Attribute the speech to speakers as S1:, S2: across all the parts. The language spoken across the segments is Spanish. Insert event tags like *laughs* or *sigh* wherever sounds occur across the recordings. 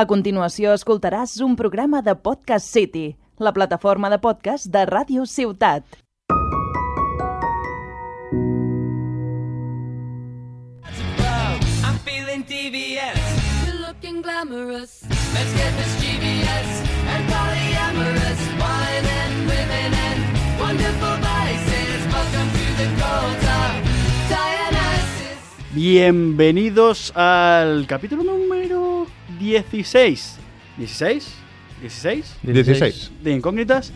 S1: A continuació escoltaràs un programa de Podcast City, la plataforma de podcast de Ràdio Ciutat.
S2: I'm feeling TBS.
S3: You're looking glamorous.
S2: Let's get this GBS and polyamorous. Wine and women and wonderful vices. Welcome to the cult of Dionysus.
S4: Bienvenidos al capítulo número 16. ¿16? ¿16?
S5: 16.
S4: De incógnitas.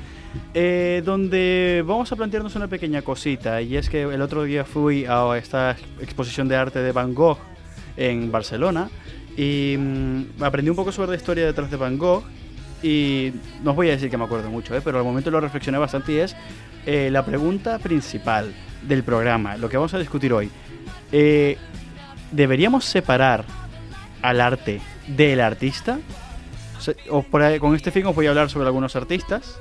S4: eh, donde vamos a plantearnos una pequeña cosita. Y es que el otro día fui a esta ex- exposición de arte de Van Gogh en Barcelona. Y mm, aprendí un poco sobre la historia detrás de Van Gogh. Y no os voy a decir que me acuerdo mucho, eh, pero al momento lo reflexioné bastante. Y es eh, la pregunta principal del programa, lo que vamos a discutir hoy. Eh, ¿Deberíamos separar al arte del artista? Se- os por ahí- con este fin os voy a hablar sobre algunos artistas,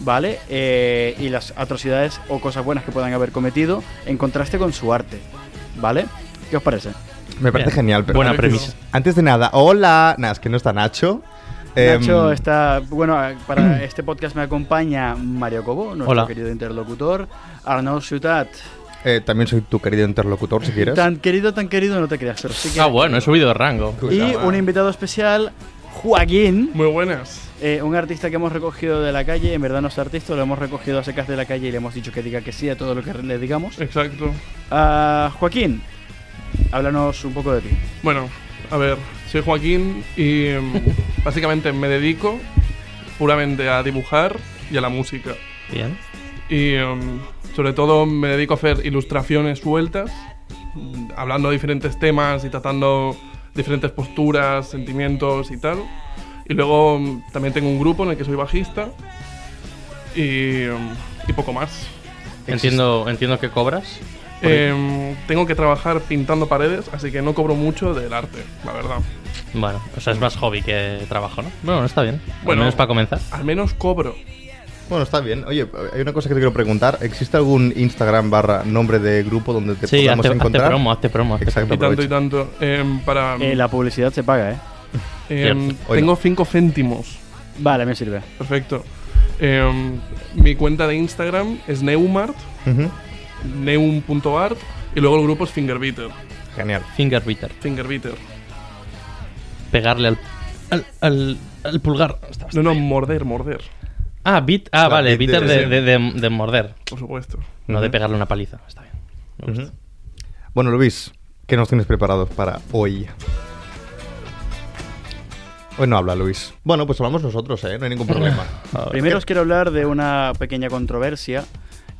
S4: ¿vale? Eh, y las atrocidades o cosas buenas que puedan haber cometido en contraste con su arte, ¿vale? ¿Qué os parece?
S5: Me parece
S6: Bien.
S5: genial. Pero
S6: Buena
S5: antes,
S6: premisa.
S5: Antes de nada, hola. Nada, es que no está Nacho. Em,
S4: Nacho está, bueno,
S5: *clears throat*
S4: para este podcast me acompaña Mario Cobo, nuestro
S6: Hola.
S4: querido interlocutor, Arnaud Ciutat.
S5: eh, también soy tu querido interlocutor, si quieres.
S4: Tan querido, tan querido, no te creas, pero sí que...
S6: Ah, bueno, he subido de rango.
S4: Y un invitado especial, Joaquín.
S7: Muy buenas.
S4: Eh, un artista que hemos recogido de la calle, en verdad no es artista, lo hemos recogido a secas de la calle y le hemos dicho que diga que sí a todo lo que le digamos.
S7: Exacto.
S4: Ah, Joaquín, háblanos un poco de ti.
S7: Bueno, a ver, soy Joaquín y mm, básicamente me dedico puramente a dibujar y a la música.
S6: Bien.
S7: Y mm, sobre todo me dedico a hacer ilustraciones sueltas, mm, hablando de diferentes temas y tratando diferentes posturas, sentimientos y tal. Y luego mm, también tengo un grupo en el que soy bajista y, mm, y poco más.
S6: Entiendo, entiendo que cobras.
S7: Em, tengo que trabajar pintando paredes, así que no cobro mucho del arte, la verdad.
S6: Bueno, o sea, es más hobby que trabajo, ¿no? Mm. Bueno, está bien. Bueno,
S7: Bueno.
S6: menos para comenzar.
S7: Al menos cobro.
S5: Bueno, está bien. Oye, hay una cosa que te quiero preguntar. ¿Existe algún Instagram barra nombre de grupo donde te
S6: Sí,
S5: podamos
S6: hazte, hazte
S5: encontrar?
S6: promo, hazte promo. hazte
S5: Exacto.
S7: Y tanto
S5: aprovecha.
S7: y tanto. Em, para.
S4: Eh, la publicidad se paga, ¿eh?
S7: em,
S6: Cierto.
S5: Hoy
S7: tengo
S5: no.
S7: 5 céntimos.
S4: Vale, me sirve.
S7: Perfecto. Em, mi cuenta de Instagram es neumart,
S5: Ujú.
S7: neum.art, y luego el grupo es fingerbeater.
S5: Genial.
S6: promo. Finger bitter.
S7: Fingerbeater.
S6: Pegarle al, al, al, al pulgar. Está bastante
S7: No, no,
S6: bien.
S7: morder, morder.
S6: Ah, bit. Ah,
S5: La
S6: vale,
S5: bit
S6: bitter de,
S5: de-
S6: de, de- de morder.
S7: Por supuesto.
S6: No de
S5: Ujú.
S6: pegarle una paliza. Está bien. Me gusta.
S5: Bueno, Luis, ¿qué nos tienes preparado para hoy? Hoy no habla Luis. Bueno, pues hablamos nosotros, ¿eh? No hay ningún
S6: *laughs*
S5: problema.
S4: Primero os quiero hablar de una pequeña controversia.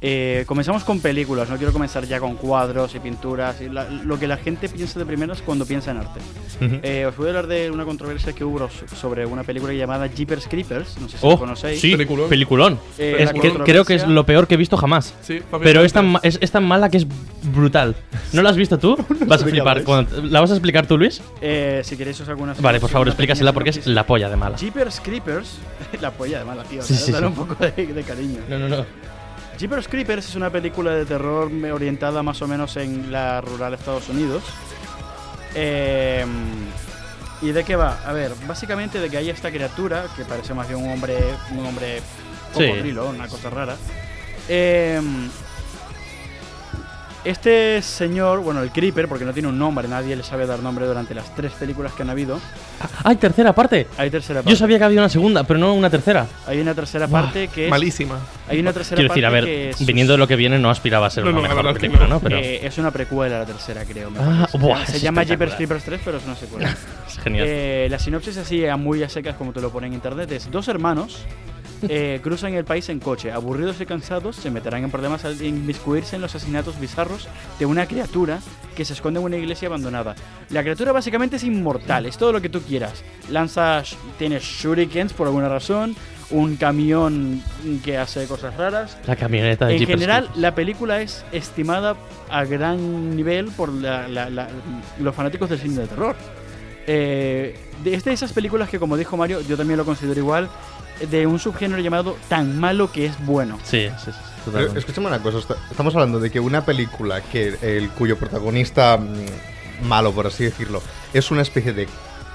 S4: Eh, comenzamos con películas, no quiero comenzar ya con cuadros y pinturas. y la- lo que la gente piensa de primeras cuando piensa en arte.
S5: Ujú.
S4: Eh, os voy a hablar de una controversia que hubo so- sobre una película llamada Jeepers Creepers, no sé si la
S6: Oh,
S4: conocéis.
S6: sí, peliculón.
S7: Peliculón.
S4: Eh,
S6: Es
S4: la
S6: que-
S4: controversia-
S6: creo que es lo peor que he visto jamás.
S7: Sí, Fabián,
S6: Pero es
S7: cuenta.
S6: tan, ma- es, es tan mala que es brutal. ¿No la has
S5: *laughs*
S6: visto tú? Vas a
S5: sé qué
S6: flipar.
S5: habláis.
S6: Cuando- ¿La vas a explicar tú, Luis?
S4: Eh, si queréis os hago una
S6: Vale, por favor,
S4: una
S6: explícasela
S4: pequeña
S6: porque es
S4: sinopsis.
S6: la polla de mala.
S4: Jeepers Creepers, *laughs* la polla de mala, tío,
S6: Sí, sí,
S4: dale
S6: sí.
S4: un poco de, de cariño.
S6: No, no, no.
S4: Jeepers Creepers es una película de terror me- orientada más o menos en la rural Estados Unidos. Eh, ¿Y de qué va? A ver, básicamente de que hay esta criatura que parece más bien un hombre, un hombre
S6: Sí.
S4: cocodrilo, una cosa rara. Eh, este señor, bueno, el Creeper, porque no tiene un nombre, nadie le sabe dar nombre durante las tres películas que han habido.
S6: ¡Ay, tercera parte!
S4: Hay tercera parte.
S6: Yo sabía que había una segunda, pero no una tercera.
S4: Hay una tercera
S6: Buah,
S4: parte que es.
S7: Malísima.
S4: Hay una tercera
S6: Quiero decir, a
S4: parte
S6: ver,
S4: que es-
S6: viniendo de lo que viene, no aspiraba a ser
S7: No,
S6: una
S7: no, la
S6: mejor
S7: verdad es que
S6: película,
S7: no.
S6: ¿no? Pero
S4: Eh, es una precuela la tercera, creo. me
S6: Ah,
S4: parece. Se
S6: buah,
S4: llama-
S6: es
S4: se llama
S6: espectacular.
S4: Jeepers Creepers 3, pero es una
S6: *laughs*
S4: secuela.
S6: es genial.
S4: Eh, la sinopsis así, a muy a secas, como te lo ponen en internet, es dos
S6: *laughs*
S4: hermanos eh, cruzan el país en coche. Aburridos y cansados, se meterán en problemas al inmiscuirse en los asesinatos bizarros de una criatura que se esconde en una iglesia abandonada. La criatura básicamente es inmortal, es todo lo que tú quieras. Lanza, sh- tiene shurikens por alguna razón, un camión que hace cosas raras,
S6: la camioneta de
S4: en
S6: Jeepers
S4: general,
S6: Creepers.
S4: la película es estimada a gran nivel por la- la- la- los fanáticos del cine de terror. Eh, de, es de esas películas que, como dijo Mario, yo también lo considero igual, de un subgénero llamado tan malo que es bueno.
S6: Sí, sí, sí.
S5: Pero
S6: totalmente.
S5: escúchame una cosa, esta- estamos hablando de que una película que el cuyo protagonista mm, malo, por así decirlo, es una especie de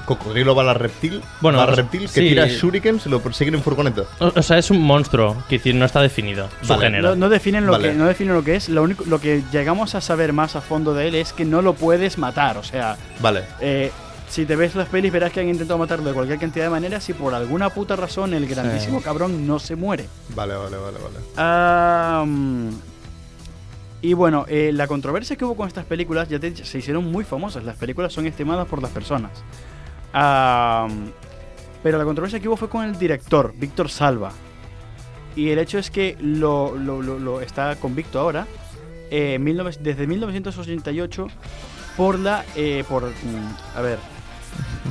S5: Cocodrilo bala reptil.
S6: Bueno,
S5: bala
S6: pues,
S5: reptil que
S6: sí.
S5: tira shurikens y lo persiguen en furgoneta.
S6: O, o sea, es un monstruo, que decir, no está definido su
S5: Vale,
S6: género.
S4: No, no definen lo
S5: Vale.
S4: que no definen lo que es. Lo único lo que llegamos a saber más a fondo de él es que no lo puedes matar. O sea,
S5: Vale.
S4: eh, si te ves las pelis verás que han intentado matarlo de cualquier cantidad de maneras y por alguna puta razón el grandísimo cabrón no se muere.
S5: Vale, vale, vale, vale.
S4: Ah, mm. y bueno, eh, la controversia que hubo con estas películas ya te he dicho, se hicieron muy famosas. Las películas son estimadas por las personas. Ah, mm. pero la controversia que hubo fue con el director, Víctor Salva. Y el hecho es que lo, lo- lo- lo está convicto ahora, eh, 19 desde 1988, por la. eh, por, mm, a ver,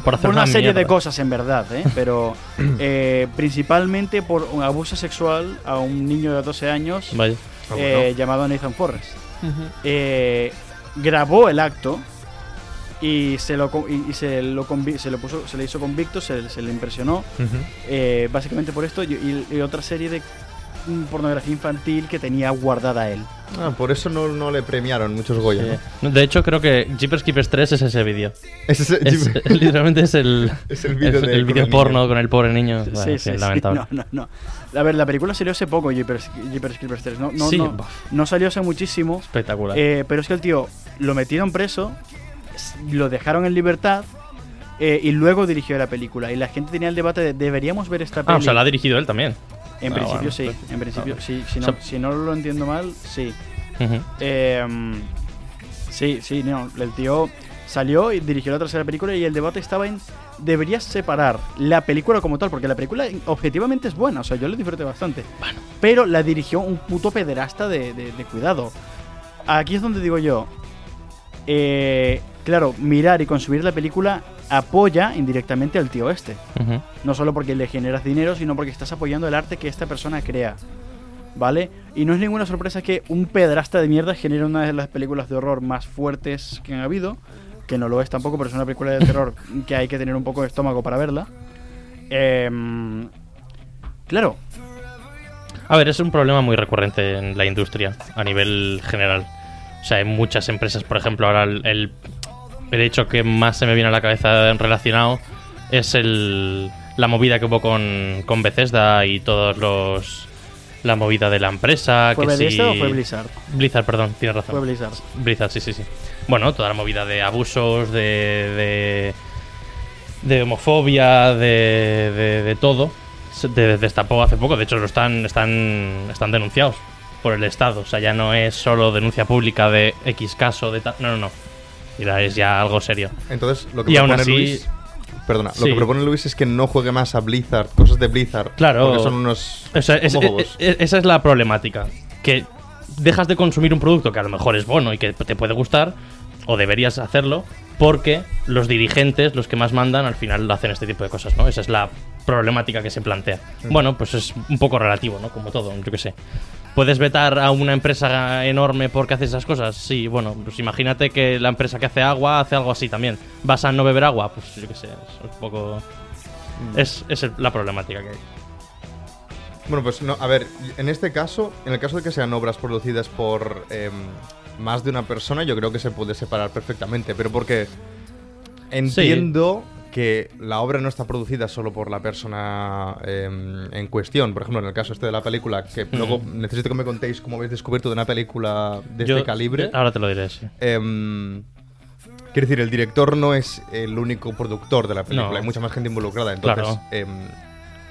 S6: por hacer
S4: por una, serie de
S6: mierda.
S4: cosas en verdad, ¿eh? pero eh, principalmente por un abuso sexual a un niño de 12 años
S6: Vaya.
S5: Ah,
S4: eh,
S5: bueno.
S4: llamado Nathan Forrest. Eh, grabó el acto y se lo co- y, y se lo convi- se lo puso se le hizo convicto se, se le impresionó eh, básicamente por esto y, y- y otra serie de mm, pornografía infantil que tenía guardada él
S5: Ah, por eso no, no le premiaron muchos Goya.
S4: Eh,
S5: ¿no? *laughs*
S6: No, De hecho, creo que Jeepers Keepers 3 es ese vídeo.
S5: Ese es,
S6: Es-
S5: Jim-
S6: *laughs*
S5: *laughs*
S6: literalmente es el,
S5: Es el vídeo
S6: es
S5: de-
S6: el
S5: con el
S6: vídeo porno
S5: niño.
S6: con el pobre niño. Bueno,
S4: sí,
S6: en
S4: sí, sí.
S6: fin, lamentable.
S4: *laughs* No, no, no. A ver, la película salió hace poco, Jeepers, Jeepers Creepers 3. No, no,
S6: Sí,
S4: no,
S6: buf.
S4: no salió hace muchísimo.
S6: Espectacular.
S4: Eh, pero es que el tío lo metieron preso, s- lo dejaron en libertad eh, y luego dirigió la película. Y la gente tenía el debate de deberíamos ver esta película.
S6: ah, o sea, la ha dirigido él también.
S4: En
S6: Ah,
S4: principio
S6: bueno,
S4: sí, en principio sí. Si
S6: O
S4: no,
S6: sea-
S4: si no lo entiendo mal, sí.
S6: Ujú.
S4: Eh, sí, sí, no. El tío salió y dirigió la tercera película y el debate estaba en deberías separar la película como tal, porque la película objetivamente es buena, o sea, yo la disfruté bastante. Pero la dirigió un puto pederasta de, de- de cuidado. Aquí es donde digo yo, eh, claro, mirar y consumir la película apoya indirectamente al tío este.
S6: Ujú.
S4: No solo porque le generas dinero, sino porque estás apoyando el arte que esta persona crea. ¿Vale? Y no es ninguna sorpresa que un pedrasta de mierda genere una de las películas de horror más fuertes que han habido. Que no lo es tampoco, pero es una película de
S6: *laughs*
S4: terror que hay que tener un poco de estómago para verla. Em, claro,
S6: A ver, es un problema muy recurrente en la industria a nivel general. O sea, hay muchas empresas, por ejemplo, ahora el, el, el hecho que más se me viene a la cabeza relacionado es el, la movida que hubo con, con Bethesda y todos los... La movida de la empresa,
S4: ¿fue
S6: que si-
S4: Bethesda o fue Blizzard?
S6: Blizzard, perdón, tienes razón.
S4: Fue Blizzard.
S6: Blizzard, sí, sí, sí. Bueno, toda la movida de abusos, de. de, de homofobia, de, de, de todo. Se de- destapó hace poco. De hecho, lo están, están, están denunciados por el Estado. O sea, ya no es solo denuncia pública de X caso, de tal. No, no, no. Mira, es ya algo serio.
S5: Entonces, lo que
S6: Y aún
S5: propone
S6: así-
S5: Luis. Perdona, lo
S6: Sí.
S5: que propone Luis es que no juegue más a Blizzard, cosas de Blizzard.
S6: Claro.
S5: Porque son unos.
S6: O sea, es-
S5: homófobos.
S6: e- e- esa es la problemática. Que dejas de consumir un producto que a lo mejor es bueno y que te puede gustar, o deberías hacerlo, porque los dirigentes, los que más mandan, al final hacen este tipo de cosas, ¿no? Esa es la problemática que se plantea. Bueno, pues es un poco relativo, ¿no? Como todo, yo qué sé. ¿Puedes vetar a una empresa enorme porque hace esas cosas? Sí, bueno, pues imagínate que la empresa que hace agua hace algo así también. ¿Vas a no beber agua? Pues yo qué sé, es un poco... Es, es el- la problemática que hay.
S5: Bueno, pues no, a ver, en este caso, en el caso de que sean obras producidas por em, más de una persona, yo creo que se puede separar perfectamente, pero porque entiendo que la obra no está producida solo por la persona em, en cuestión. Por ejemplo, en el caso este de la película, que luego necesito que me contéis cómo habéis descubierto de una película de
S6: Yo-
S5: este calibre.
S6: Ahora te lo diré, sí.
S5: Em, quiero decir, el director no es el único productor de la película,
S6: No.
S5: hay mucha más gente involucrada. Entonces,
S6: Claro.
S5: em,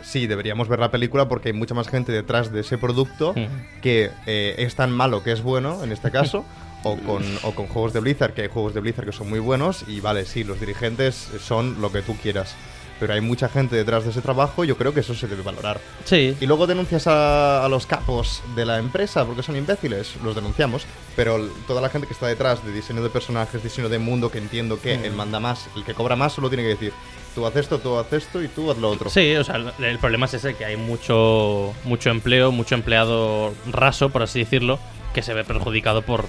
S5: sí, deberíamos ver la película porque hay mucha más gente detrás de ese producto
S6: Mm.
S5: que eh, es tan malo que es bueno, en este
S6: *laughs*
S5: caso. O con, o con juegos de Blizzard, que hay juegos de Blizzard que son muy buenos y vale, sí, los dirigentes son lo que tú quieras. Pero hay mucha gente detrás de ese trabajo, yo creo que eso se debe valorar.
S6: Sí,
S5: Y luego denuncias a, a los capos de la empresa porque son imbéciles, los denunciamos, pero l- toda la gente que está detrás de diseño de personajes, diseño de mundo, que entiendo que el manda más, el que cobra más, solo tiene que decir, tú haz esto, tú haz esto y tú haz lo otro.
S6: Sí, o sea, el- el problema es ese, que hay mucho, mucho empleo, mucho empleado raso, por así decirlo, que se ve perjudicado por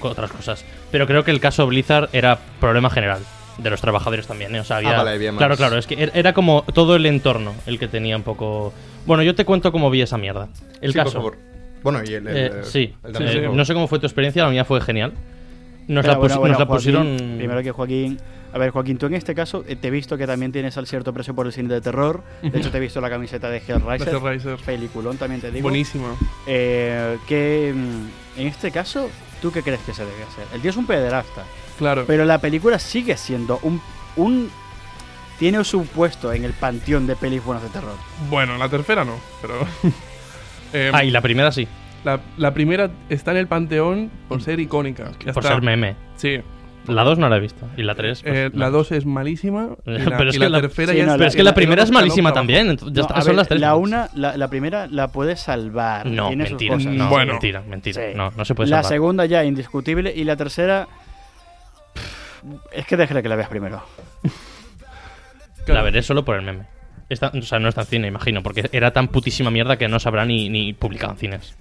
S6: co- otras cosas. Pero creo que el caso Blizzard era problema general de los trabajadores también, ¿eh? O sea, había...
S5: Ah, vale, había más.
S6: Claro, claro, es que er- era como todo el entorno el que tenía un poco... Bueno, yo te cuento cómo vi esa mierda. El
S5: Sí, por
S6: caso...
S5: favor. Bueno, y el... el,
S6: Eh,
S5: eh,
S6: sí,
S5: el también,
S6: Eh,
S5: por favor.
S6: no sé cómo fue tu experiencia, la mía fue genial. Nos
S4: Pero
S6: la,
S4: bueno,
S6: pusi-
S4: bueno,
S6: nos la
S4: Joaquín,
S6: pusieron...
S4: Primero que Joaquín A ver, Joaquín, tú en este caso eh, te he visto que también tienes al cierto precio por el cine de terror. De hecho, te he visto la camiseta
S6: *laughs*
S4: de Hellraiser.
S7: De Hellraiser.
S4: Peliculón, también te digo.
S7: Buenísima.
S4: Eh, que mm, en este caso, ¿tú qué crees que se debe hacer? El tío es un pederasta,
S7: Claro.
S4: pero la película sigue siendo un... un tiene su puesto en el panteón de pelis buenas de terror.
S7: Bueno, la tercera no, pero. *laughs* Em,
S6: Ah, y la primera sí,
S7: la, la primera está en el panteón por ser icónica. Ya
S6: Mm. por
S7: está.
S6: ser meme.
S7: Sí.
S6: La 2 no la he visto. Y la 3.
S7: Eh, La dos es
S6: *laughs*
S7: malísima. y la,
S6: Pero es
S7: y
S6: que
S7: la
S6: la-
S7: tercera
S4: Sí,
S7: ya
S4: no,
S7: está-
S4: la-
S6: Pero es que la
S7: está
S6: primera es
S7: loca,
S6: malísima
S7: loca.
S6: también. entonces ya
S4: No,
S6: está-
S4: a
S6: son
S4: ver,
S6: las tres.
S4: La, una, la, la primera la puede salvar.
S6: No,
S4: tiene sus
S6: mentira.
S4: cosas.
S6: No,
S7: Bueno.
S6: mentira, mentira.
S4: Sí.
S6: No, no se puede
S4: la
S6: salvar.
S4: segunda ya indiscutible y la tercera pff, es que déjale que la veas primero.
S6: La veré solo por el meme. Esta- o sea, no está en cine, imagino, porque era tan putísima mierda que no sabrá ni, ni publicado en cines.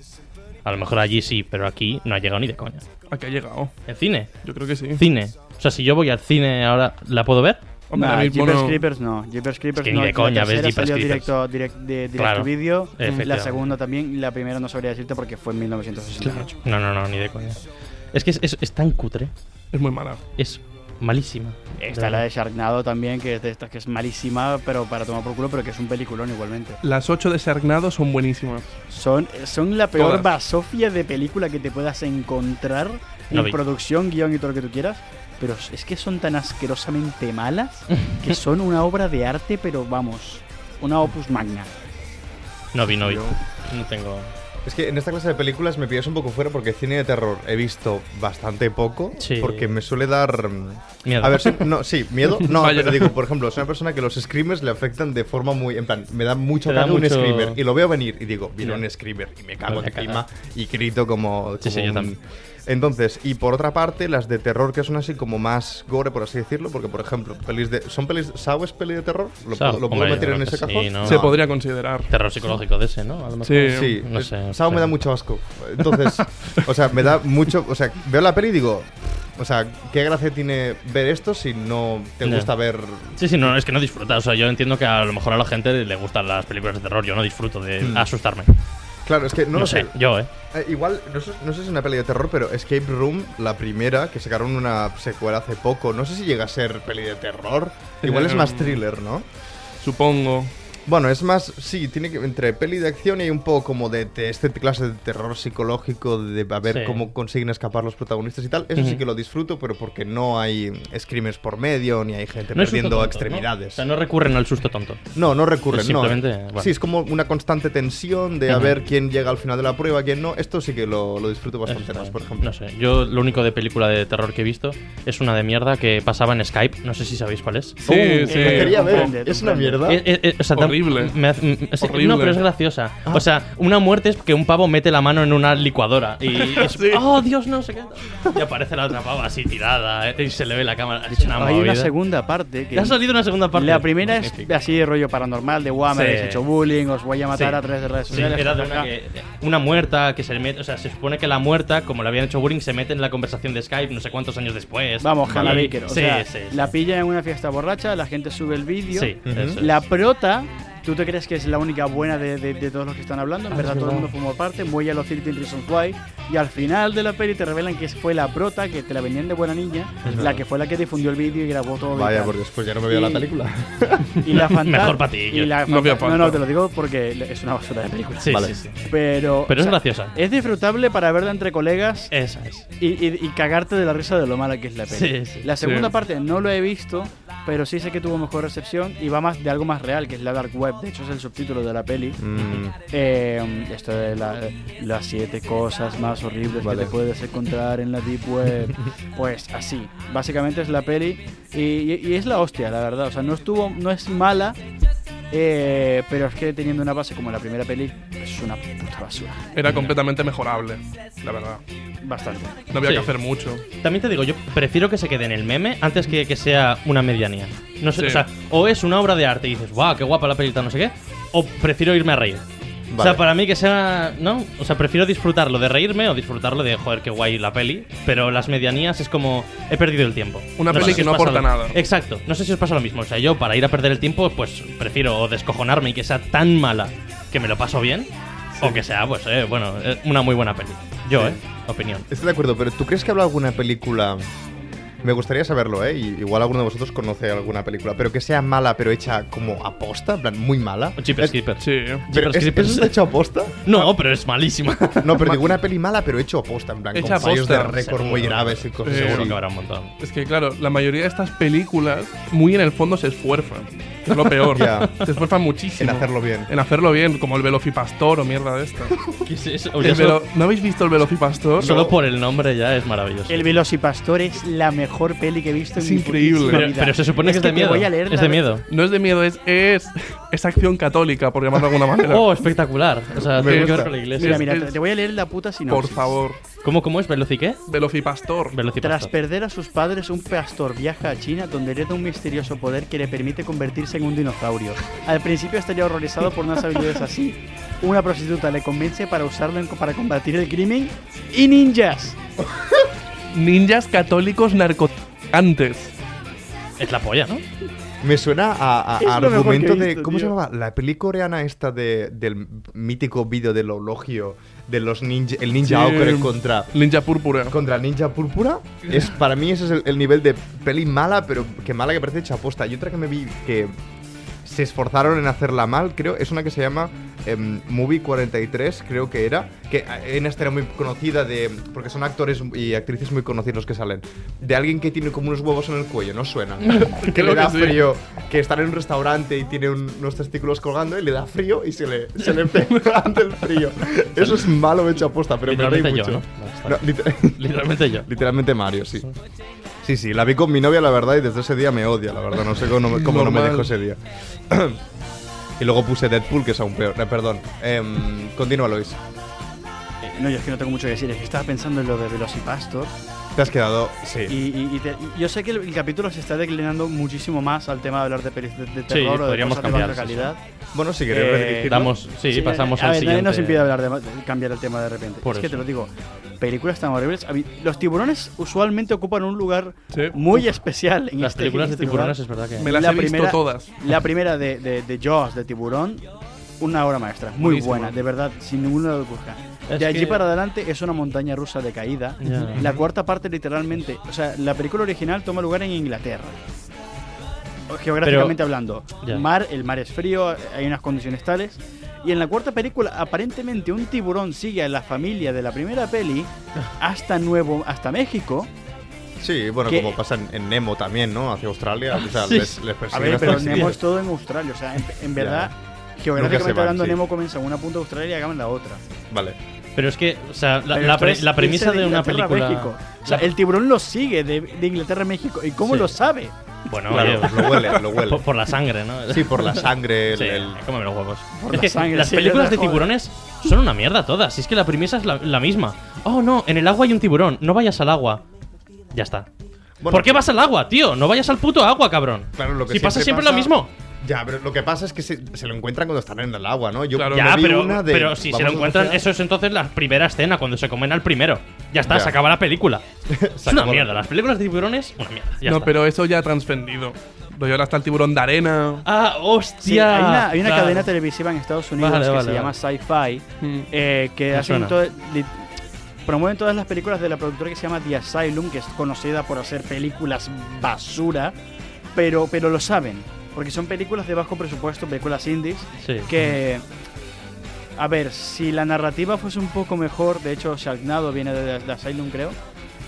S6: A lo mejor allí sí, pero aquí no ha llegado ni de coña.
S7: ¿A qué ha llegado?
S6: ¿En cine?
S7: Yo creo que sí.
S6: Cine. O sea, si yo voy al cine ahora, ¿la puedo ver?
S7: Hombre, ahora
S4: Nah,
S7: mismo
S4: Jeepers
S7: no.
S4: Creepers no, Jeepers Creepers
S6: que ni
S4: no.
S6: de
S4: la
S6: coña
S4: tercera
S6: ves Jeepers
S4: salió
S6: Creepers.
S4: directo, direct, de, directo
S6: Claro,
S4: video, la
S6: efectivamente.
S4: segunda también, la primera no sabría decirte porque fue en 1968.
S6: No, no, no, ni de coña. Es que es, es- es tan cutre.
S7: Es muy mala.
S6: Es malísima.
S4: Está la de Sharknado también, que es de estas que es malísima, pero para tomar por culo, pero que es un peliculón igualmente.
S7: Las ocho de Sargnado son buenísimas.
S4: Son, son la peor
S7: Todas.
S4: basofia de película que te puedas encontrar en
S6: No vi.
S4: producción, guión y todo lo que tú quieras. Pero es que son tan asquerosamente malas que son una obra de arte, pero vamos, una opus magna.
S6: No vi, no vi. No tengo...
S5: Es que en esta clase de películas me pillas un poco fuera porque cine de terror he visto bastante poco.
S6: Sí.
S5: Porque me suele dar. mm,
S6: Miedo.
S5: A ver, sí, no, sí, miedo. No,
S7: Vaya.
S5: pero digo, por ejemplo, soy una persona que los screamers le afectan de forma muy. En plan, me da mucho
S6: Te da
S5: cago un
S6: mucho-
S5: screamer. Y lo veo venir y digo, viene
S6: Ya.
S5: un screamer. Y me cago
S6: Voy a
S5: encima
S6: cagar.
S5: y grito como.
S6: Sí, sí,
S5: como
S6: yo
S5: un-
S6: también.
S5: Entonces, y por otra parte, las de terror que son así como más gore, por así decirlo, porque por ejemplo, pelis de. ¿Son pelis. ¿Sao es peli de terror? ¿Lo,
S6: Saw,
S5: puedo- lo puedo
S6: hombre, yo
S5: meter en
S6: creo que
S5: ese
S6: sí,
S5: cajón?
S6: ¿no?
S7: Se podría considerar.
S6: Terror psicológico de ese, ¿no? A lo mejor.
S7: Sí.
S5: Sí,
S6: No
S5: eh,
S6: sé,
S5: Sao
S6: sí.
S5: me da mucho asco. Entonces, o sea, me da mucho. O sea, veo la peli y digo, o sea, ¿qué gracia tiene ver esto si no te
S6: Ya.
S5: gusta ver.
S6: Sí, sí, no, es que no disfruta. O sea, yo entiendo que a lo mejor a la gente le gustan las películas de terror. Yo no disfruto de asustarme.
S5: Claro, es que Mm. no,
S6: No,
S5: lo
S6: sé.
S5: sé.
S6: yo, ¿eh?
S5: Eh, igual, no sé, no sé si es una peli de terror, pero Escape Room, la primera, que sacaron una secuela hace poco, no sé si llega a ser peli de terror. Igual
S6: Eh,
S5: es más thriller, ¿no?
S7: Supongo.
S5: Bueno, es más, sí, tiene que entre peli de acción y un poco como de, de este clase de terror psicológico de a ver
S6: Sí.
S5: cómo consiguen escapar los protagonistas y tal. Eso sí
S6: Ujú.
S5: que lo disfruto, pero porque no hay screamers por medio ni hay gente
S6: No es susto
S5: perdiendo
S6: tonto, ¿no? O
S5: extremidades.
S6: sea, no recurren al susto tonto.
S5: No, no recurren,
S6: Es
S5: no.
S6: simplemente, bueno.
S5: Sí, es como una constante tensión de a
S6: Ujú.
S5: ver quién llega al final de la prueba, quién no. Esto sí que lo, lo disfruto
S6: Eso
S5: bastante
S6: está
S5: más,
S6: bien.
S5: por ejemplo.
S6: No sé. Yo lo único de película de terror que he visto es una de mierda que pasaba en Skype. No sé si sabéis cuál es.
S7: Sí,
S5: Oh,
S7: sí.
S5: la quería ver.
S4: comprende,
S5: Es una
S4: comprende.
S5: mierda.
S6: Eh, eh, eh, o sea, tam-
S7: Horrible.
S6: me hace- mm, sí,
S7: Horrible.
S6: No, pero es graciosa.
S5: Ah.
S6: O sea, una muerte es que un pavo mete la mano en una licuadora y
S5: *laughs*
S6: es,
S7: Sí.
S6: oh Dios, no sé qué. Y aparece la otra pava así tirada eh, y se le ve la cámara. Es una
S4: Hay una
S6: movida.
S4: segunda parte que...
S6: Ya ha salido una segunda parte.
S4: La primera es
S6: Magnífico.
S4: así de rollo paranormal, de guau, me
S6: Sí.
S4: habéis hecho bullying, os voy a matar
S6: Sí.
S4: a través de redes
S6: Sí,
S4: sociales.
S6: era de
S4: jajaja.
S6: una, que- una muerta que se mete. O sea, se supone que la muerta, como le habían hecho bullying, se mete en la conversación de Skype no sé cuántos años después.
S4: Vamos,
S6: Y-
S4: Hannah Baker. O
S6: sí,
S4: sea,
S6: sí, sí.
S4: la pilla en una fiesta borracha, la gente sube el vídeo.
S6: Sí,
S5: Ujú.
S6: eso es.
S4: La prota, ¿tú te crees que es la única buena de, de- de todos los que están hablando? En verdad, todo el mundo formó parte, muy a los 13 Reasons Why. Y al final de la peli te revelan que fue la prota, que te la vendían de buena niña, la que fue la que difundió el vídeo y grabó todo. y
S5: Vaya,
S4: tal.
S5: porque después ya no me veo la
S4: Y-
S5: película.
S6: *laughs*
S4: Y la fanta-
S6: Mejor pa' ti,
S4: y
S6: yo.
S4: la
S7: No veo
S4: fanta- No,
S7: falta.
S4: no, te lo digo porque es una basura de película.
S6: Sí,
S5: Vale.
S6: sí, sí.
S4: Pero, o
S6: Pero es
S4: sea,
S6: graciosa.
S4: es disfrutable para verla entre colegas
S6: Esa es.
S4: y, y- y cagarte de la risa de lo mala que es la peli.
S6: Sí, sí.
S4: la segunda
S7: Sí.
S4: parte no lo he visto, pero sí sé que tuvo mejor recepción y va más de algo más real, que es la Dark Web. De hecho, es el subtítulo de la peli.
S5: Mm,
S4: Eh, esto de la- las siete cosas más horribles
S5: Vale.
S4: que te puedes encontrar en la Deep Web. pues así. Básicamente es la peli y, y- y es la hostia, la verdad. O sea, no estuvo, no es mala. eh, pero es que teniendo una base como la primera peli es una puta basura.
S7: Era completamente mejorable, la verdad.
S4: Bastante.
S7: No había
S6: Sí.
S7: que hacer mucho.
S6: También te digo, yo prefiero que se quede en el meme antes que, que sea una medianía. No sé,
S7: Sí.
S6: o sea, o es una obra de arte y dices, guau, qué guapa la pelita, no sé qué, o prefiero irme a reír. O
S5: Vale.
S6: sea, para mí que sea, ¿no? O sea, prefiero disfrutarlo de reírme o disfrutarlo de, joder, qué guay la peli, pero las medianías es como, he perdido el tiempo.
S7: Una
S6: sé
S7: peli
S6: si
S7: que
S6: os
S7: no
S6: pasa
S7: aporta
S6: lo-
S7: nada.
S6: Exacto, no sé si os pasa lo mismo, o sea, yo para ir a perder el tiempo, pues prefiero o descojonarme y que sea tan mala que me lo paso bien, o que sea, pues, eh, bueno, eh, una muy buena peli. Yo, ¿eh? Opinión.
S5: Estoy de acuerdo, pero ¿tú crees que habrá alguna película Me gustaría saberlo, ¿eh? Y igual alguno de vosotros conoce alguna película, pero que sea mala, pero hecha como aposta, en plan, muy mala.
S6: Jeepers
S7: Eh,
S5: Es-
S6: Creepers.
S7: Sí.
S5: pero
S6: Jeepers
S5: ¿es-
S6: Creepers.
S5: ¿Eso está hecho aposta?
S6: No, pero es malísima.
S5: No, pero digo
S6: *laughs*
S5: una peli mala, pero hecho aposta, en plan,
S7: Hecha
S5: con fallos de
S7: aposta.
S5: récord muy graves y cosas
S7: Seguro
S5: así.
S6: Seguro que habrá un montón.
S7: Es que claro, la mayoría de estas películas muy en el fondo se esfuerzan. Es lo peor.
S5: Ya.
S7: Se esfuerzan muchísimo.
S5: En hacerlo bien.
S7: En hacerlo bien, como el Velocipastor o mierda de esta.
S6: ¿Qué es eso?
S7: El
S6: Ya solo,
S7: velo- ¿No habéis visto el Velocipastor?
S6: solo por el nombre ya es maravilloso.
S4: El Velocipastor es la mejor peli que he visto
S7: Es
S4: en
S7: increíble.
S4: mi putísima
S6: pero,
S4: vida.
S6: pero se supone que es de
S4: te
S6: miedo.
S4: voy a leer
S6: Es
S4: la-
S6: de miedo.
S7: No es de miedo, es, es, es acción católica, por llamarlo de alguna
S6: *laughs*
S7: manera.
S6: Oh, espectacular. O sea,
S5: Me
S6: tiene que
S5: gusta.
S6: ver con la iglesia.
S4: Mira, mira,
S7: es-
S4: te- te voy a leer la puta
S7: por
S4: sinopsis.
S7: favor.
S6: ¿Cómo, cómo es? ¿Veloci qué?
S7: Velocipastor.
S4: Tras
S6: Velocipastor.
S4: perder a sus padres, un pastor viaja a China donde hereda un misterioso poder que le permite convertirse en un dinosaurio. Al principio estaría horrorizado por unas habilidades así. Una prostituta le convence para usarlo en- para combatir el crimen y ninjas.
S7: Ninjas católicos narcotraficantes.
S6: Es la polla, ¿no?
S5: Me suena a, a-
S4: Es
S5: a
S4: lo mejor que
S5: argumento
S4: he
S5: de.
S4: visto,
S5: ¿Cómo se
S4: tío.
S5: llamaba? La peli coreana esta de- del mítico vídeo del ologio de los ninja. El ninja
S7: Sí.
S5: Ocre contra.
S7: Ninja púrpura.
S5: Contra el Ninja Púrpura. Es, para mí ese es el, el nivel de peli mala, pero que mala que parece hecha aposta. Y otra que me vi que se esforzaron en hacerla mal, creo, es una que se llama em, Movie 43, creo que era. Que eh, en esta era muy conocida de... Porque son actores y actrices muy conocidos los que salen. De alguien que tiene como unos huevos en el cuello, no suena. que
S7: Creo
S5: le da
S7: que sí.
S5: frío. Que está en un restaurante y tiene un- unos testículos colgando y le da frío y se le, se le pega *laughs* ante el frío. Eso es malo hecho aposta, pero me reí mucho.
S6: Literalmente yo, ¿no? Bastante.
S5: No, liter-
S6: Literalmente yo.
S5: Literalmente Mario, sí. Sí, sí, la vi con mi novia, la verdad, y desde ese día me odia, la verdad. No sé
S6: *laughs*
S5: cómo, no- cómo no me
S7: Normal.
S5: dejó ese día. *clears throat* y luego puse Deadpool, que es aún peor. Eh, perdón. Em, continúa, Lois.
S4: Eh, No, yo es que no tengo mucho que decir. Es que estaba pensando en lo de Velocipastor.
S5: Te has quedado. Sí.
S4: Y, y- y te- y yo sé que el, el capítulo se está declinando muchísimo más al tema de hablar de pelis de, de terror o de
S6: podríamos
S4: cosas de baja
S6: cambiar, sí,
S4: calidad.
S5: Bueno, si queréis
S4: Eh,
S5: redirigirlo.
S6: Damos, sí, pasamos
S4: a
S6: al
S4: ver, nadie
S6: siguiente.
S4: nos impide hablar de, de cambiar el tema de repente.
S6: Por
S4: es que
S6: eso.
S4: te lo digo, películas tan horribles. A mí- Los tiburones usualmente ocupan un lugar
S7: Sí.
S4: muy especial en
S6: Las
S4: este-
S6: películas
S4: en
S6: de
S4: este
S6: tiburones es
S4: lugar.
S6: verdad que.
S7: Me las
S4: La
S7: he visto
S4: primera-
S7: todas.
S4: La primera de, de, de Jaws, de tiburón, una obra maestra, muy
S7: Buenísima.
S4: buena, de verdad, sin ninguna duda.
S6: Es
S4: De allí
S6: que-
S4: para adelante es una montaña rusa de caída.
S6: Ya.
S4: La cuarta parte literalmente, o sea, la película original toma lugar en Inglaterra. O- Geográficamente hablando,
S6: Ya.
S4: mar, el mar es frío, hay unas condiciones tales. Y en la cuarta película, aparentemente un tiburón sigue a la familia de la primera
S6: *laughs*
S4: peli hasta nuevo, hasta México.
S5: Sí, bueno,
S4: ¿Qué?
S5: como pasa en, en Nemo también, ¿no? Hacia Australia. O sea,
S6: Sí.
S5: les, les
S4: A
S5: persiguen
S4: ver,
S5: hasta
S4: pero
S5: Australia.
S4: Nemo es todo en Australia, o sea, en, en verdad,
S5: Nunca se
S4: geográficamente
S5: van,
S4: hablando,
S5: sí.
S4: Nemo comienza en una punta de Australia y acaba en la otra.
S5: Vale.
S6: Pero es que, o sea, la,
S4: Pero
S6: la
S4: esto
S6: pre-
S4: es
S6: la premisa
S4: irse
S6: de una
S4: Inglaterra a
S6: película.
S4: México. O sea,
S6: la-
S4: el tiburón lo sigue de, de Inglaterra a México. ¿Y cómo
S6: Sí.
S4: lo sabe? *laughs*
S6: Bueno,
S5: Claro,
S6: oye,
S5: lo huele,
S6: *laughs*
S5: lo huele.
S6: por, por la sangre, ¿no?
S5: Sí, por la sangre. el-
S6: Sí,
S5: el-
S6: cómeme los huevos.
S4: Por
S6: es
S4: la
S6: que
S4: sangre,
S6: las
S4: sí,
S6: películas
S4: verdad,
S6: de
S4: joder.
S6: tiburones son una mierda todas. Y es que la premisa es la, la misma. Oh, no, en el agua hay un tiburón. No vayas al agua. Ya está.
S5: Bueno,
S6: ¿Por qué vas al agua, tío? No vayas al puto agua, cabrón.
S5: Claro, lo que
S6: si pasa siempre lo mismo.
S5: Ya, pero lo que pasa es que se, se lo encuentran cuando están en el agua, ¿no? Yo
S7: Claro.
S5: me
S6: Ya,
S5: vi
S6: pero,
S5: una de-
S6: pero si se
S5: vamos
S6: lo
S5: a
S6: encuentran,
S5: bucear.
S6: eso es entonces la primera escena, cuando se comen al primero. Ya está,
S5: Ya.
S6: se acaba la
S5: *laughs*
S6: película. es
S5: Se
S6: una
S5: acabó.
S6: mierda. Las películas de tiburones, una mierda. Ya
S7: no,
S6: está.
S7: pero eso ya ha trascendido. Lo llevan hasta el tiburón de arena.
S6: Ah, hostia.
S4: Sí, hay una, hay una
S6: Claro.
S4: cadena televisiva en Estados Unidos
S6: Vale,
S4: que
S6: vale,
S4: se
S6: vale.
S4: llama Sci-Fi,
S7: Mm.
S4: eh, que
S6: Me
S4: hacen
S6: suena.
S4: todo- li- promueven todas las películas de la productora que se llama The Asylum, que es conocida por hacer películas basura, pero, pero lo saben, porque son películas de bajo presupuesto, películas indies,
S6: Sí.
S4: que a ver si la narrativa fuese un poco mejor de hecho Sharknado viene de, de Asylum creo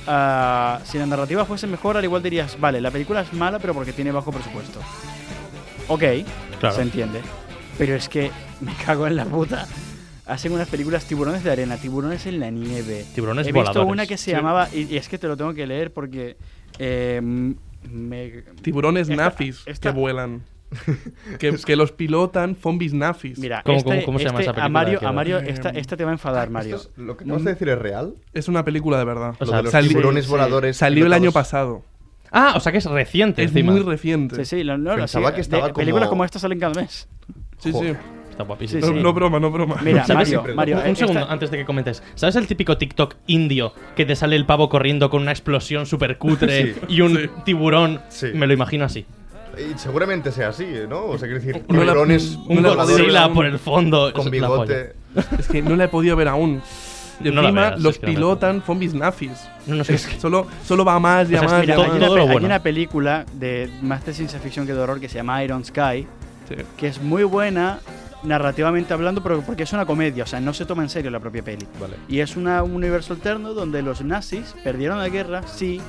S4: ah, si la narrativa fuese mejor al igual dirías vale la película es mala pero porque tiene bajo presupuesto ok
S6: Claro.
S4: se entiende pero es que me *laughs* cago en la puta hacen unas películas tiburones de arena tiburones en la nieve
S6: Tiburones
S4: he visto
S6: voladores.
S4: una que se
S7: Sí.
S4: llamaba y, y es que te lo tengo que leer porque eh, me,
S7: Tiburones
S4: Esta-
S7: nafis
S4: esta-
S7: que
S4: *laughs*
S7: vuelan. que, que los pilotan zombies nafis.
S4: mira
S6: ¿Cómo-
S4: este-
S6: cómo- cómo se llama
S4: este
S6: esa película
S4: a Mario,
S6: que-
S4: a Mario
S5: Eh,
S4: esta, esta te va a
S5: *laughs*
S4: enfadar Mario
S5: Esto es- ¿Lo que acabas de decir es real?
S7: Es una película de verdad.
S6: O
S5: Lo
S6: sea,
S5: de los
S7: sali-
S5: tiburones
S4: sí,
S5: voladores.
S7: Salió el
S5: pilotados.
S7: año pasado.
S6: Ah, o sea que es reciente
S7: Es
S6: encima.
S7: muy reciente.
S4: Sí, sí, la, no,
S5: Pensaba
S4: sí,
S5: que estaba
S4: de- Películas
S5: como-
S4: como estas salen cada
S5: *laughs*
S4: mes.
S7: Sí, sí.
S5: Joder.
S6: Está guapísimo.
S4: Sí,
S7: No,
S4: sí.
S7: no broma, no broma.
S4: Mira,
S7: *laughs*
S6: ¿Sabes?
S4: Mario, Mario,
S6: un
S4: eh,
S6: segundo
S4: esta-
S6: antes de que comentes. ¿Sabes el típico TikTok indio que te sale el pavo corriendo con una explosión súper cutre
S5: Sí,
S6: y un tiburón?
S5: Sí.
S6: Me lo imagino así.
S5: Y seguramente sea así, ¿no? O sea, quiero decir,
S7: No la-
S5: tiburones
S7: no
S6: Un
S7: la
S5: voladores
S7: podido ver
S6: Godzilla
S7: aún.
S6: por el fondo.
S5: con
S6: es la polla.
S5: bigote.
S7: Es que no la he podido ver aún. Y
S6: No la
S7: encima
S6: veas,
S7: los
S6: es que no me-
S7: pilotan zombies nazis.
S6: No, no sé.
S7: Es que solo, solo va a más y
S6: O
S7: a
S6: sea, es
S7: más. y
S4: Mira,
S7: a
S6: todo-
S4: hay,
S7: más.
S4: una,
S6: todo
S4: pe-
S6: lo
S4: hay
S6: bueno.
S4: una película de más de ciencia ficción que de horror que se llama Iron Sky,
S7: Sí.
S4: que es muy buena narrativamente hablando, pero porque es una comedia, o sea, no se toma en serio la propia peli.
S5: Vale.
S4: Y es una- un universo alterno donde los nazis perdieron la guerra, sí,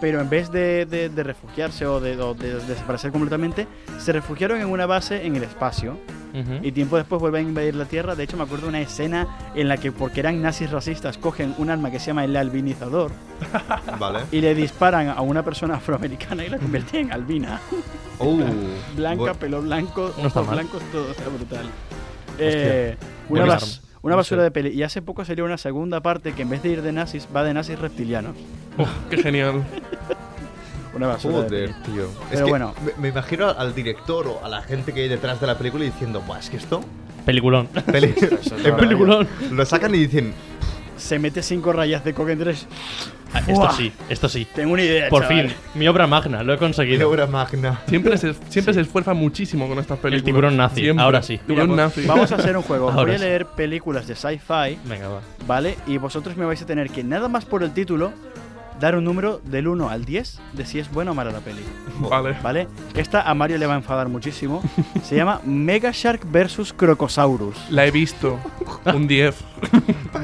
S4: pero en vez de, de- de refugiarse o de, o de desaparecer completamente, se refugiaron en una base en el espacio
S6: Ujú.
S4: y tiempo después vuelven a invadir la Tierra. De hecho, me acuerdo de una escena en la que, porque eran nazis racistas, cogen un arma que se llama el albinizador
S5: Vale.
S4: y le disparan a una persona *laughs* afroamericana y la convierten en albina.
S5: Uh,
S4: Blanca,
S5: bueno,
S4: pelo blanco,
S6: No está
S4: ojos
S6: mal.
S4: blancos, todo está brutal. Eh, una,
S6: Buena
S4: bas-
S6: arma.
S4: una
S6: No
S4: basura
S6: sé.
S4: de peli. Y hace poco salió una segunda parte que en vez de ir de nazis, va de nazis reptilianos.
S7: Qué genial.
S4: Una basura de
S5: Joder,
S4: peli.
S5: tío. es
S4: Pero
S5: que
S4: bueno.
S5: me, me imagino al, al director o a la gente que hay detrás de la película diciendo, Buah, es que esto.
S6: Peliculón. *laughs*
S5: Peli-
S4: es
S5: en plan,
S6: peliculón.
S5: Lo sacan y dicen,
S4: Se mete cinco rayas de coca en tres.
S6: Ah, esto
S4: Buah.
S6: sí, esto sí.
S4: Tengo una idea.
S6: Por
S4: chaval.
S6: fin, mi obra magna, lo he
S5: qué
S6: conseguido.
S5: obra magna.
S7: Siempre se, siempre se esfuerza muchísimo con estas películas.
S6: tiburón nazi,
S7: Siempre.
S6: ahora sí.
S4: Mira,
S7: Tiburón
S4: pues,
S7: nazi.
S4: Vamos a hacer un juego. Voy
S6: *laughs* Ahora
S4: a
S6: sí.
S4: leer películas de sci-fi,
S6: Venga, va.
S4: ¿vale? Y vosotros me vais a tener que, nada más por el título, dar un número del 1 al 10 de si es buena o mala la peli.
S7: *laughs* Vale.
S4: ¿Vale? Esta a Mario le va a enfadar muchísimo. Se llama Mega Shark vs. Crocosaurus.
S7: La he visto.
S4: *laughs*
S7: Un 10.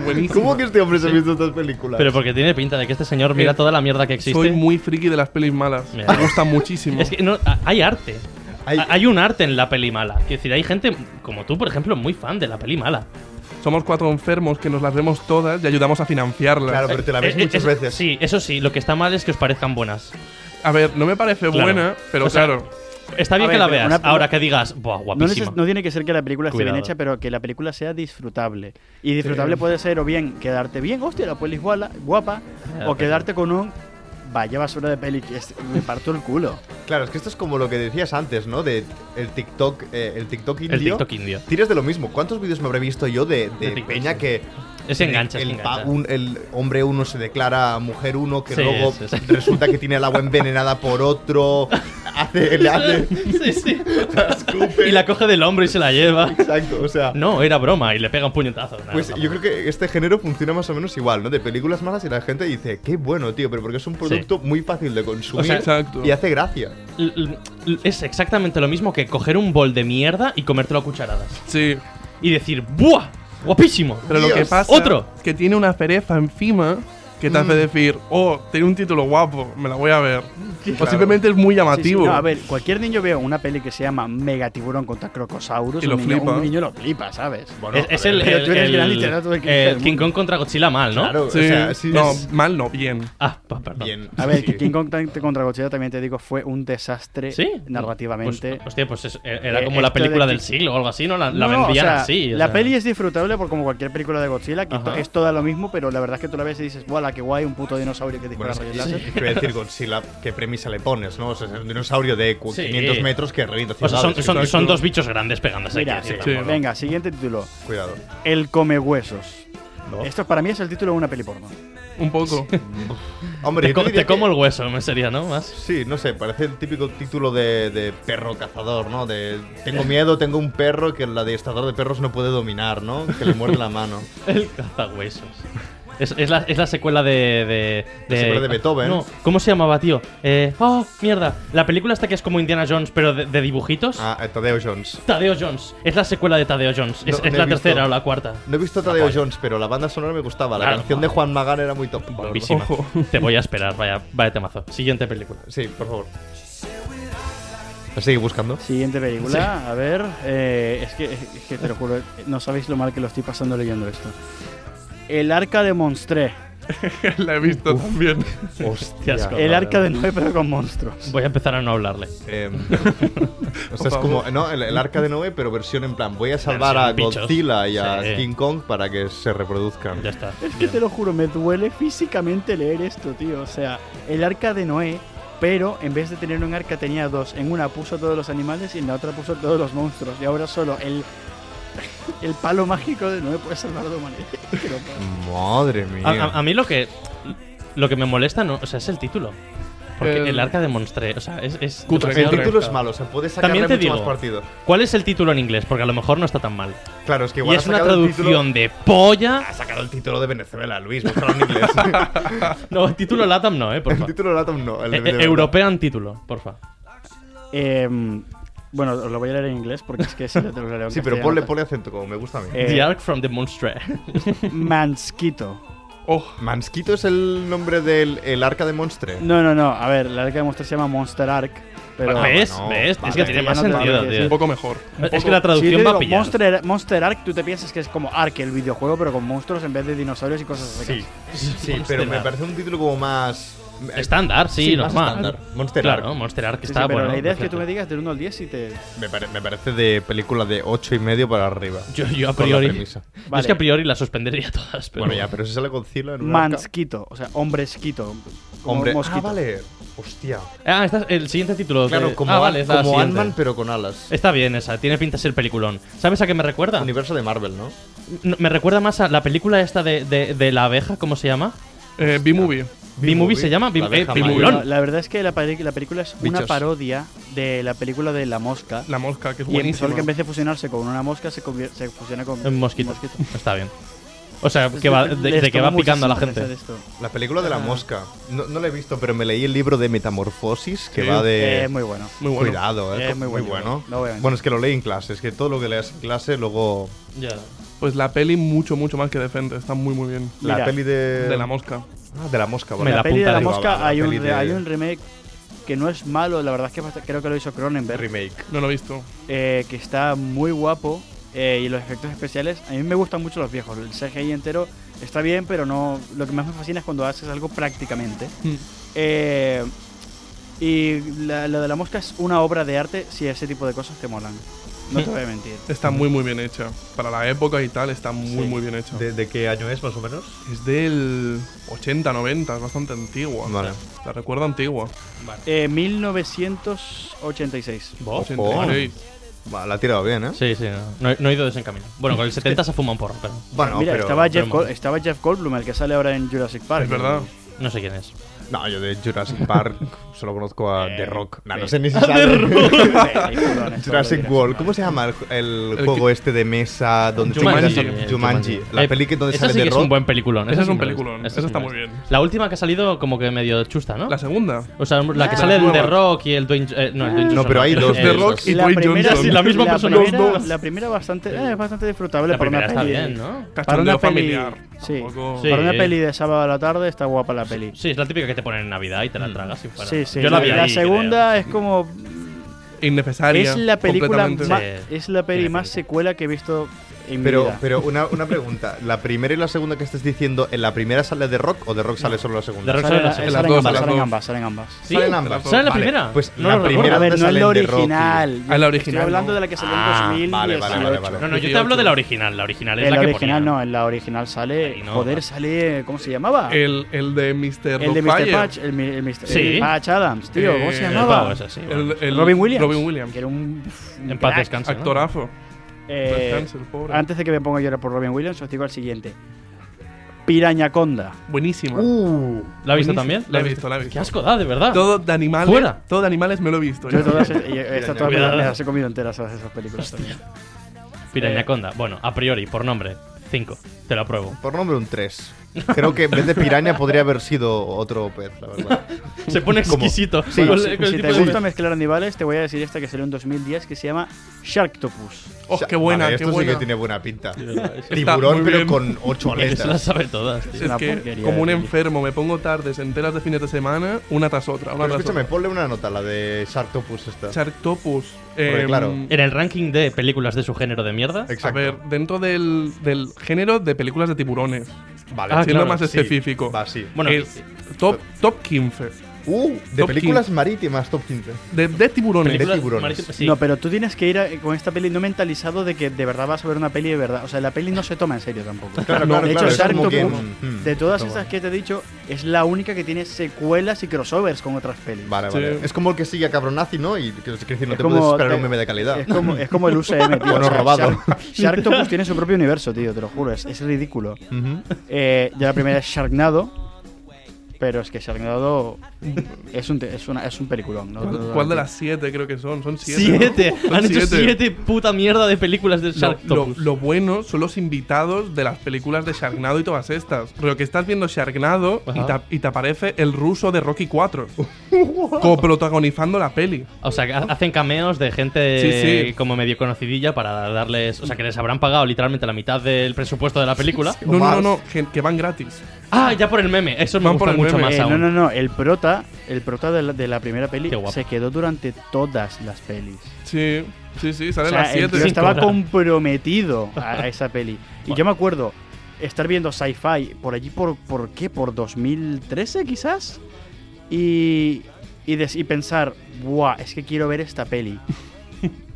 S7: Buenísimo.
S5: ¿Cómo que este hombre se ha visto estas películas?
S6: Pero porque tiene pinta de que este señor mira
S7: Eh,
S6: toda la mierda que existe.
S7: Soy muy friki de las pelis malas.
S6: Mira.
S7: Me gusta
S6: *laughs*
S7: muchísimo.
S6: Es que no, a- hay arte.
S5: Hay-
S6: Hay... hay un arte en la peli mala. Quiero decir, hay gente como tú, por ejemplo, muy fan de la peli mala.
S7: Somos cuatro enfermos que nos las vemos todas y ayudamos a financiarlas.
S5: Claro, pero te la ves
S6: Eh, eh,
S5: muchas
S6: es-
S5: veces.
S6: Sí, eso sí, lo que está mal es que os parezcan buenas.
S7: A ver, no me parece
S6: Claro.
S7: buena, pero
S6: O sea,
S7: claro.
S6: Está bien
S4: A ver,
S6: que la
S4: pero
S6: veas,
S4: una-
S6: ahora que digas, ¡buah,
S4: No, neces-
S6: guapísima!
S4: no tiene que ser que la película esté bien
S6: Cuidado.
S4: hecha, pero que la película sea disfrutable. Y disfrutable puede ser o bien quedarte bien, hostia, la peli es guala- guapa,
S6: Ya,
S4: o
S6: pero-
S4: quedarte con un vaya basura de peli que es- me parto el culo.
S5: Claro, es que esto es como lo que decías antes, ¿no? De el TikTok, eh, el TikTok indio.
S6: El TikTok indio.
S5: Tiras de lo mismo. ¿Cuántos vídeos me habré visto yo de, de
S6: De TikTok,
S5: Peña
S6: sí.
S5: que.
S6: Ese engancha,
S5: el,
S6: ese
S5: pa-
S6: engancha.
S5: un- el hombre uno se declara mujer uno, que
S6: Sí,
S5: luego
S6: sí, sí.
S5: resulta que tiene el agua envenenada por otro.
S6: *laughs*
S5: Hace, le hace. *laughs*
S6: Sí, sí.
S5: escupe.
S6: Y la coge del hombro y se la lleva.
S5: Exacto, o sea.
S6: No, era broma y le pega un puñetazo. Nah,
S5: Pues
S6: no,
S5: yo creo
S6: tampoco.
S5: que este género funciona más o menos igual, ¿no? De películas malas y la gente dice, qué bueno, tío, pero porque es un producto muy fácil de consumir
S6: O sea,
S7: Exacto.
S5: y hace gracia.
S6: L- l- l- Es exactamente lo mismo que coger un bol de mierda y comértelo a cucharadas.
S7: Sí.
S6: Y decir, ¡buah! ¡Guapísimo!
S7: Pero lo
S5: Dios.
S7: que pasa
S6: Otro.
S7: es que tiene una pereza encima que te
S5: Mm.
S7: hace decir, oh, tiene un título guapo, me la voy a ver. O simplemente es
S4: Sí,
S7: muy
S4: sí,
S7: llamativo.
S4: no, a ver, cualquier niño veo una peli que se llama Mega Tiburón contra Crocosaurus
S7: Y lo
S4: un niño,
S7: flipa.
S4: Un niño lo flipa, ¿sabes?
S6: es, es el,
S4: pero
S6: el-
S4: tú eres
S6: el-
S4: gran literato del que
S6: el
S4: dice el
S6: King
S4: mundo.
S6: Kong contra Godzilla mal, ¿no?
S5: Claro,
S7: Sí.
S5: o sea, sí
S7: no,
S5: es
S7: mal no, bien.
S6: Ah, pa- perdón.
S5: bien.
S4: A ver,
S5: sí.
S4: que King Kong tan- contra Godzilla también te digo fue un desastre
S6: Sí.
S4: narrativamente.
S6: Pues, hostia, pues es- era
S4: Eh,
S6: como la
S4: esto de
S6: película
S4: que-
S6: del siglo o algo así, ¿no? La, la
S4: No, no,
S6: vendían
S4: o sea,
S6: así. o
S4: la
S6: sea.
S4: peli es disfrutable por como cualquier película de Godzilla, que to-
S6: Ajá.
S4: es toda lo mismo, pero la verdad es que tú la ves y dices, ¡Buah, la que guay, un puto dinosaurio que dispara
S5: Bueno, sí,
S4: rayos
S5: sí,
S4: láser".
S5: sí. Quiero decir, Godzilla, ¿qué premisa le pones, no? O sea, es un dinosaurio de cu-
S6: Sí.
S5: 500 metros que revienta
S6: O sea, Pues son,
S5: ciudades.
S6: son-
S5: Exacto.
S6: son dos bichos grandes pegándose.
S4: Mira,
S6: quiero
S4: sí.
S6: decir, tampoco.
S4: venga, siguiente título.
S5: Cuidado.
S4: El come huesos.
S6: No.
S4: Esto para mí es el título de una peli porno.
S7: Un poco. *laughs*
S5: Hombre,
S6: Te,
S5: yo
S6: co-
S5: diría
S6: te como
S5: que-
S6: el hueso, me sería, ¿no? Más.
S5: Sí, no sé, parece el típico título de, de perro cazador, ¿no? De tengo miedo, tengo un perro que el adiestrador de perros no puede dominar, ¿no? Que le muerde la
S6: *laughs*
S5: mano.
S6: El cazahuesos. Es, es, la, es la secuela de, de, Ah,
S5: La secuela de Beethoven.
S6: No, ¿Cómo se llamaba, tío? Eh, ¡Oh, mierda! La película esta que es como Indiana Jones, pero de, de dibujitos.
S5: Ah, eh, Tadeo Jones.
S6: Tadeo Jones. Es la secuela de Tadeo Jones. Es,
S5: No,
S6: es
S5: no he
S6: la
S5: visto.
S6: tercera o la cuarta.
S5: No he visto Tadeo
S6: Ah,
S5: Jones, pero la banda sonora me gustaba. La
S6: Claro,
S5: canción de Juan Magán era muy top. la verdad.
S6: Guapísima.
S7: Ojo.
S6: Te voy a esperar, vaya, vaya temazo. Siguiente película.
S5: Sí, por favor. Sigue buscando.
S4: Siguiente película, a ver. eh, es, que, es que te lo juro, no sabéis lo mal que lo estoy pasando leyendo esto. El arca de Monstré.
S7: la he visto también. *laughs*
S6: Qué
S5: Hostia.
S6: asco.
S4: El arca de Noé, pero con monstruos.
S6: Voy a empezar a no hablarle. *laughs*
S5: Eh, o sea, es
S7: favor.
S5: como no, el, el arca de Noé, pero versión en plan: voy a salvar a
S6: Versión bichos.
S5: Godzilla y a
S6: Sí.
S5: King Kong para que se reproduzcan.
S6: Ya está.
S4: Es que te lo juro, me duele físicamente leer esto, tío. O sea, el arca de Noé, pero en vez de tener un arca tenía dos. En una puso todos los animales y en la otra puso todos los monstruos. Y ahora solo el, el palo mágico de Noé puede salvar a la humanidad. *laughs* Que lo pasa.
S5: Madre mía.
S6: A, a- a mí lo que lo que me molesta no, o sea, es el título. Porque
S7: El-
S6: el arca de Monstre, o sea, es... es
S7: Cutre,
S5: El
S6: demasiado
S7: correcto.
S5: título es
S6: rebuscado.
S5: malo, se puede sacar
S6: También
S5: mucho
S6: te digo,
S5: más partido.
S6: ¿cuál es el título en inglés? Porque a lo mejor no está tan mal.
S5: Claro, es que
S6: Y
S5: igual
S6: es
S5: ha
S6: una
S5: sacado el título-
S6: traducción de polla.
S5: Ha sacado el título de Venezuela, Luis, búscalo en
S6: *laughs*
S5: inglés.
S6: No, el título LATAM no, eh,
S5: el
S6: porfa.
S5: título Latam no. El de
S6: Eh, eh,
S5: Venezuela.
S6: European título, porfa.
S4: Em, bueno, os lo voy a leer en inglés porque es que si lo te lo leo en
S5: Sí, pero
S4: castellano,
S5: ponle,
S6: Eh,
S4: tal.
S5: ponle acento como me gusta a mí.
S4: Eh,
S6: The Ark from the Monstre.
S4: Mansquito.
S7: Oh,
S5: Mansquito es el nombre del el arca de Monstre.
S4: No, no, no. A ver, la arca de Monster se llama Monster Ark. Pero
S6: Ah, ¿Ves?
S5: bueno,
S6: ¿Ves?
S5: vale.
S6: es que tiene más
S4: Ya no te
S6: sentido,
S4: lo voy a
S6: tío.
S7: un poco mejor.
S6: Es que la
S4: Si yo
S6: traducción
S4: te
S6: va a
S4: digo
S6: pillar.
S4: Monster, Monster Ark, tú te piensas que es como Ark, el videojuego, pero con monstruos en vez de dinosaurios y cosas así.
S5: Sí, sí, pero me parece un título como más.
S6: Estándar, sí,
S5: Sí, más
S6: normal.
S5: estándar. Monster
S6: claro,
S5: Ark.
S6: Monster Ark
S4: Sí, sí,
S6: está
S4: pero
S6: bueno.
S4: la idea es que tú me
S6: perfecto.
S4: digas del 1 al 10 y te...
S5: Me, pare- me parece de película de 8 y medio para arriba.
S6: Yo, yo a
S5: Con la
S6: priori.
S5: premisa.
S6: yo es
S4: Vale.
S6: que a priori las suspendería *laughs* todas. Pero...
S5: Bueno, ya, pero si sale con Cilo en un arca-
S4: Mansquito, o sea, hombresquito. como
S5: Hombre, ah,
S4: mosquito.
S5: vale. Hostia.
S6: Ah, esta es el siguiente título.
S5: Claro,
S6: de-
S5: como,
S6: ah, vale, es la
S5: como
S6: siguiente.
S5: Ant-Man, pero con alas.
S6: Está bien esa, tiene pinta de ser peliculón. ¿Sabes a qué me recuerda?
S5: Universo de Marvel, ¿no?
S6: No, me recuerda más a la película esta de, de- de la abeja, ¿cómo se llama?
S7: Eh, B-Movie.
S6: B-Movie se llama B-
S5: La abeja
S6: eh, B-Movie.
S5: Maya.
S4: La, la verdad es que la, pari- la película es una
S5: Bichos.
S4: parodia de la película de La Mosca.
S7: La mosca, que es
S4: y el sol
S7: buenísima.
S4: que en vez de fusionarse con una mosca se, convier- se fusiona con
S6: Un mosquito. Está bien. O sea, que va, de,
S4: Les
S6: de que
S4: tomó
S6: va picando a la
S4: muchísima risa
S6: gente.
S4: de esto.
S5: La película de la mosca. No, no la he visto, pero me leí el libro de Metamorfosis que
S7: Sí.
S5: va de.
S4: Eh, muy bueno.
S7: Muy bueno.
S5: Cuidado, eh.
S4: Eh, muy bueno. No voy a mentir.
S5: bueno, es que lo leí en clase. Es que todo lo que leas en clase, luego.
S6: Ya.
S7: Pues la peli mucho, mucho más que decente. Está muy, muy bien.
S5: la
S4: Mira,
S5: peli de.
S7: De la mosca.
S5: Ah, de la mosca,
S6: Me
S5: vale.
S4: la,
S6: la
S4: peli de
S6: apuntaré.
S4: la
S5: Digo,
S4: mosca
S5: va, va,
S4: hay,
S5: la
S4: un,
S5: peli
S4: re-
S5: de-
S4: hay un remake que no es malo, la verdad es que bast- creo que lo hizo Cronenberg,
S5: Remake.
S7: No lo he visto.
S4: eh, que está muy guapo eh, y los efectos especiales, a mí me gustan mucho los viejos, el CGI entero está bien, pero no lo que más me fascina es cuando haces algo prácticamente.
S7: Mm.
S4: Eh, y la- lo de la mosca es una obra de arte si ese tipo de cosas te molan. No te voy a mentir. *laughs*
S7: Está muy, muy bien hecha. Para la época y tal, está muy,
S5: Sí.
S7: muy bien hecha.
S5: ¿De, de qué año es, más o menos?
S7: Es del 80, 90. Es bastante antigua.
S5: Vale.
S7: La recuerdo antigua.
S4: Eh, 1986.
S6: ¿Vos?
S7: 86.
S5: Va, la ha tirado bien, ¿eh?
S6: Sí, sí, no, no, he- no he ido desencaminado. Bueno,
S5: *laughs*
S6: con el 70 se fuma un porro, pero
S5: Bueno,
S4: Mira,
S5: pero...
S4: estaba, Jeff
S6: pero-
S4: Gold- estaba Jeff Goldblum, el que sale ahora en Jurassic Park. *laughs*
S7: Es verdad.
S6: no sé quién es.
S5: No, yo de Jurassic Park solo conozco
S4: Eh,
S5: a The Rock. Nah, no
S4: *laughs*
S5: sé ni si
S6: The
S5: sabe.
S4: Peliculón, esto lo
S5: Jurassic
S4: dirás.
S5: World. ¿Cómo se llama el, el
S7: El
S5: juego
S7: que-
S5: este de mesa donde
S7: Jumanji.
S5: sale-
S6: Eh,
S5: Jumanji. La
S6: Eh,
S5: peli que donde
S6: esa
S5: sale
S6: sí
S5: The
S6: que es
S5: Rock.
S6: un buen peliculón.
S7: Ese
S6: esa
S7: es
S6: sí
S7: un
S6: me la he
S7: peliculón,
S6: visto,
S7: ese
S6: sí
S7: está
S6: me la
S7: muy
S6: he visto.
S7: bien.
S6: La última que ha salido como que medio chusta, ¿no?
S7: La segunda.
S6: O sea, la que
S4: Ah,
S6: sale
S7: la
S6: el The
S7: nueva.
S6: Rock y el Dwayne... eh, no, el Dwayne
S4: No,
S6: Johnson
S5: pero hay
S6: no,
S5: dos
S6: el-
S5: de
S7: The
S6: el-
S7: Rock y
S4: La
S7: Dwayne
S4: primera,
S7: Johnson.
S6: sí, la misma persona.
S4: primera-
S7: Los dos.
S4: la primera bastante, eh, es bastante disfrutable
S6: La
S4: para
S6: primera
S4: una
S6: está
S4: peli.
S6: bien, ¿no?
S4: Para una
S7: Cachondeo
S4: peli,
S7: familiar.
S4: sí.
S7: Tampoco-
S6: Sí.
S4: Para una peli de sábado a la tarde está guapa la peli.
S6: Sí, es la típica que te ponen en Navidad y te la tragas. sin parar.
S4: Sí, sí.
S6: Yo la vi ahí, creo.
S4: segunda es como
S7: Innecesaria.
S4: es la película
S7: completamente.
S4: más,
S6: Sí.
S4: es la peli
S6: Tiene
S4: más
S6: sentido.
S4: secuela que he visto en mi
S5: Pero,
S4: vida.
S5: pero una, una pregunta. ¿La primera y la segunda que estés diciendo, en la primera sale The Rock o The Rock sale solo la segunda?
S6: The Rock-
S4: Salen-
S6: en la- en
S4: salen
S7: las
S4: ambas,
S7: dos, en las
S4: salen
S7: dos.
S4: ambas, salen ambas.
S6: Sí,
S5: Salen ambas.
S6: ¿Sale la
S5: Vale,
S6: primera?
S5: pues
S6: no
S5: la
S6: lo
S5: primera-
S6: recuerdo.
S4: A ver, no
S5: salen
S4: es la
S5: de Rock,
S4: original.
S7: tío. Ah, la original,
S4: Estoy hablando
S7: no.
S4: de la que salió
S6: Ah,
S4: en 2018.
S5: vale, vale, vale, vale.
S6: No, no, yo te hablo de la original. La original es
S4: En
S6: la,
S4: la
S6: que
S4: original
S6: ponían.
S4: no, en la original sale,
S6: Ahí no,
S4: joder,
S6: va.
S4: sale, ¿cómo se
S5: Eh,
S4: llamaba?
S7: El, el de Mr.
S4: El de Mr.
S7: Doubtfire.
S4: Patch, el, mi- el Mr.
S6: Sí.
S4: el Patch Adams, tío, ¿cómo se
S7: Eh,
S6: El
S4: llamaba?
S6: pavo ese, sí,
S7: El,
S6: bueno.
S7: el-
S4: Robin Williams.
S7: Robin Williams.
S4: Que era un, un
S6: En paz
S4: crack.
S6: descanse. ¿no?
S7: Actorazo.
S4: Eh,
S7: Descanse, el pobre.
S4: antes de que me ponga a llorar por Robin Williams, os digo el siguiente. Pirañaconda.
S7: Buenísima.
S5: Uh,
S6: ¿La has visto
S7: Buenísimo.
S6: también?
S7: La he visto, la he visto.
S6: Qué asco da, de verdad.
S7: Todo de animales.
S6: Fuera.
S7: Todo de animales me lo he visto.
S4: ah. Yo
S7: ya.
S4: todas, y eh, esta todas me
S6: Cuidado.
S4: las me las he comido enteras todas esas películas también.
S6: Pirañaconda. Bueno, a priori, por nombre. 5. Te lo apruebo.
S5: por nombre un 3. Creo que en vez de piraña podría haber sido otro pez, la verdad.
S6: Se pone
S5: Como-
S6: exquisito.
S5: Sí,
S6: Con-
S5: sí,
S6: con el
S4: Si
S6: tipo
S4: te
S6: de-
S4: gusta mezclar animales, te voy a decir esta que salió en 2010 que se llama Sharktopus.
S7: *laughs* Oh, qué buena,
S5: Vale,
S7: qué
S5: esto
S7: buena.
S5: sí que tiene buena pinta.
S7: Está
S5: Tiburón,
S7: muy
S5: pero
S7: bien.
S5: con 8
S6: Se las
S5: aletas.
S6: sabe todas, tío.
S4: una
S7: Es que
S4: porquería
S7: como
S4: de
S7: un
S4: peli.
S7: enfermo me pongo tardes enteras de fines de semana, una tras otra, una
S5: Pero
S7: tras
S5: escúchame,
S7: otra.
S5: ponle una nota, la de Sharktopus esta.
S7: Sharktopus.
S5: Porque,
S7: em,
S5: claro.
S6: En el ranking de películas de su género de mierda,
S7: A
S5: Exacto.
S7: ver, dentro del, del género de películas de tiburones.
S5: vale,
S6: Ah,
S7: siendo
S6: claro,
S7: más
S5: sí,
S7: específico.
S5: Va, sí.
S6: Bueno,
S7: es top, top 15
S5: Uh, de
S7: Top
S5: películas
S7: 15.
S5: marítimas, top 15.
S7: de, de tiburones.
S5: Película-
S6: películas-
S5: tiburones.
S6: Maric- sí.
S4: No, pero tú tienes que ir a- con esta peli no mentalizado de que de verdad vas a ver una peli de verdad. O sea, la peli no se toma en serio tampoco.
S5: Claro,
S7: No,
S5: claro,
S4: de hecho,
S5: claro. es como
S4: Sharktopus,
S5: que, mm, mm.
S4: de todas esas que te he dicho, es la única que tiene secuelas y crossovers con otras pelis.
S5: Vale,
S7: Sí.
S5: vale. Es como el que sigue a Cabronazi, ¿no? Y que, es decir, no
S4: Es
S5: te
S4: como-
S5: puedes esperar
S4: te-
S5: un meme de calidad.
S4: Es como, es
S5: *laughs*
S4: como el UCM, tío.
S5: Bueno, robado.
S4: Shark- Sharktopus tiene su propio universo, tío, te lo juro. Es, es ridículo.
S5: Ujú.
S4: Eh, ya la primera es Sharknado. Pero es que se han dado. Es un, te- es una, es un peliculón. ¿no?
S7: ¿Cuál, cuál de las siete creo que son? Son siete. ¿no?
S6: Siete.
S7: Son
S6: Han hecho siete puta mierda de películas de
S7: Lo, lo-
S6: Sharktopus.
S7: lo bueno son los invitados de las películas de Sharknado y todas estas. Pero que estás viendo Sharknado y
S6: Ajá.
S7: te, y te aparece el ruso de
S5: *laughs*
S7: Rocky 4 coprotagonizando la peli.
S6: O sea, que ha- hacen cameos de gente
S7: Sí, sí.
S6: como medio conocidilla para darles. O sea, que les habrán pagado literalmente la mitad del presupuesto de la película.
S7: No, no, no, no, que, que van gratis.
S6: Ah, ya por el meme. Eso me
S7: Van
S6: gusta
S7: por el
S6: mucho
S7: meme.
S6: más
S4: Eh,
S6: aún.
S4: no, no, no. El prota, el prota de la, de la primera peli
S6: Qué guapo.
S4: se quedó durante todas las pelis.
S7: Sí, sí, sí,
S4: O
S7: salen
S4: sea,
S7: las
S4: el tío
S6: Sí,
S7: siete.
S4: estaba
S6: claro.
S4: comprometido a, a esa peli. Y
S6: Bueno.
S4: yo me acuerdo estar viendo sci-fi por allí, por, ¿por qué? ¿Por 2013 quizás? Y, y, des- y pensar, ¡buah! Es que quiero ver esta
S6: *laughs*
S4: peli.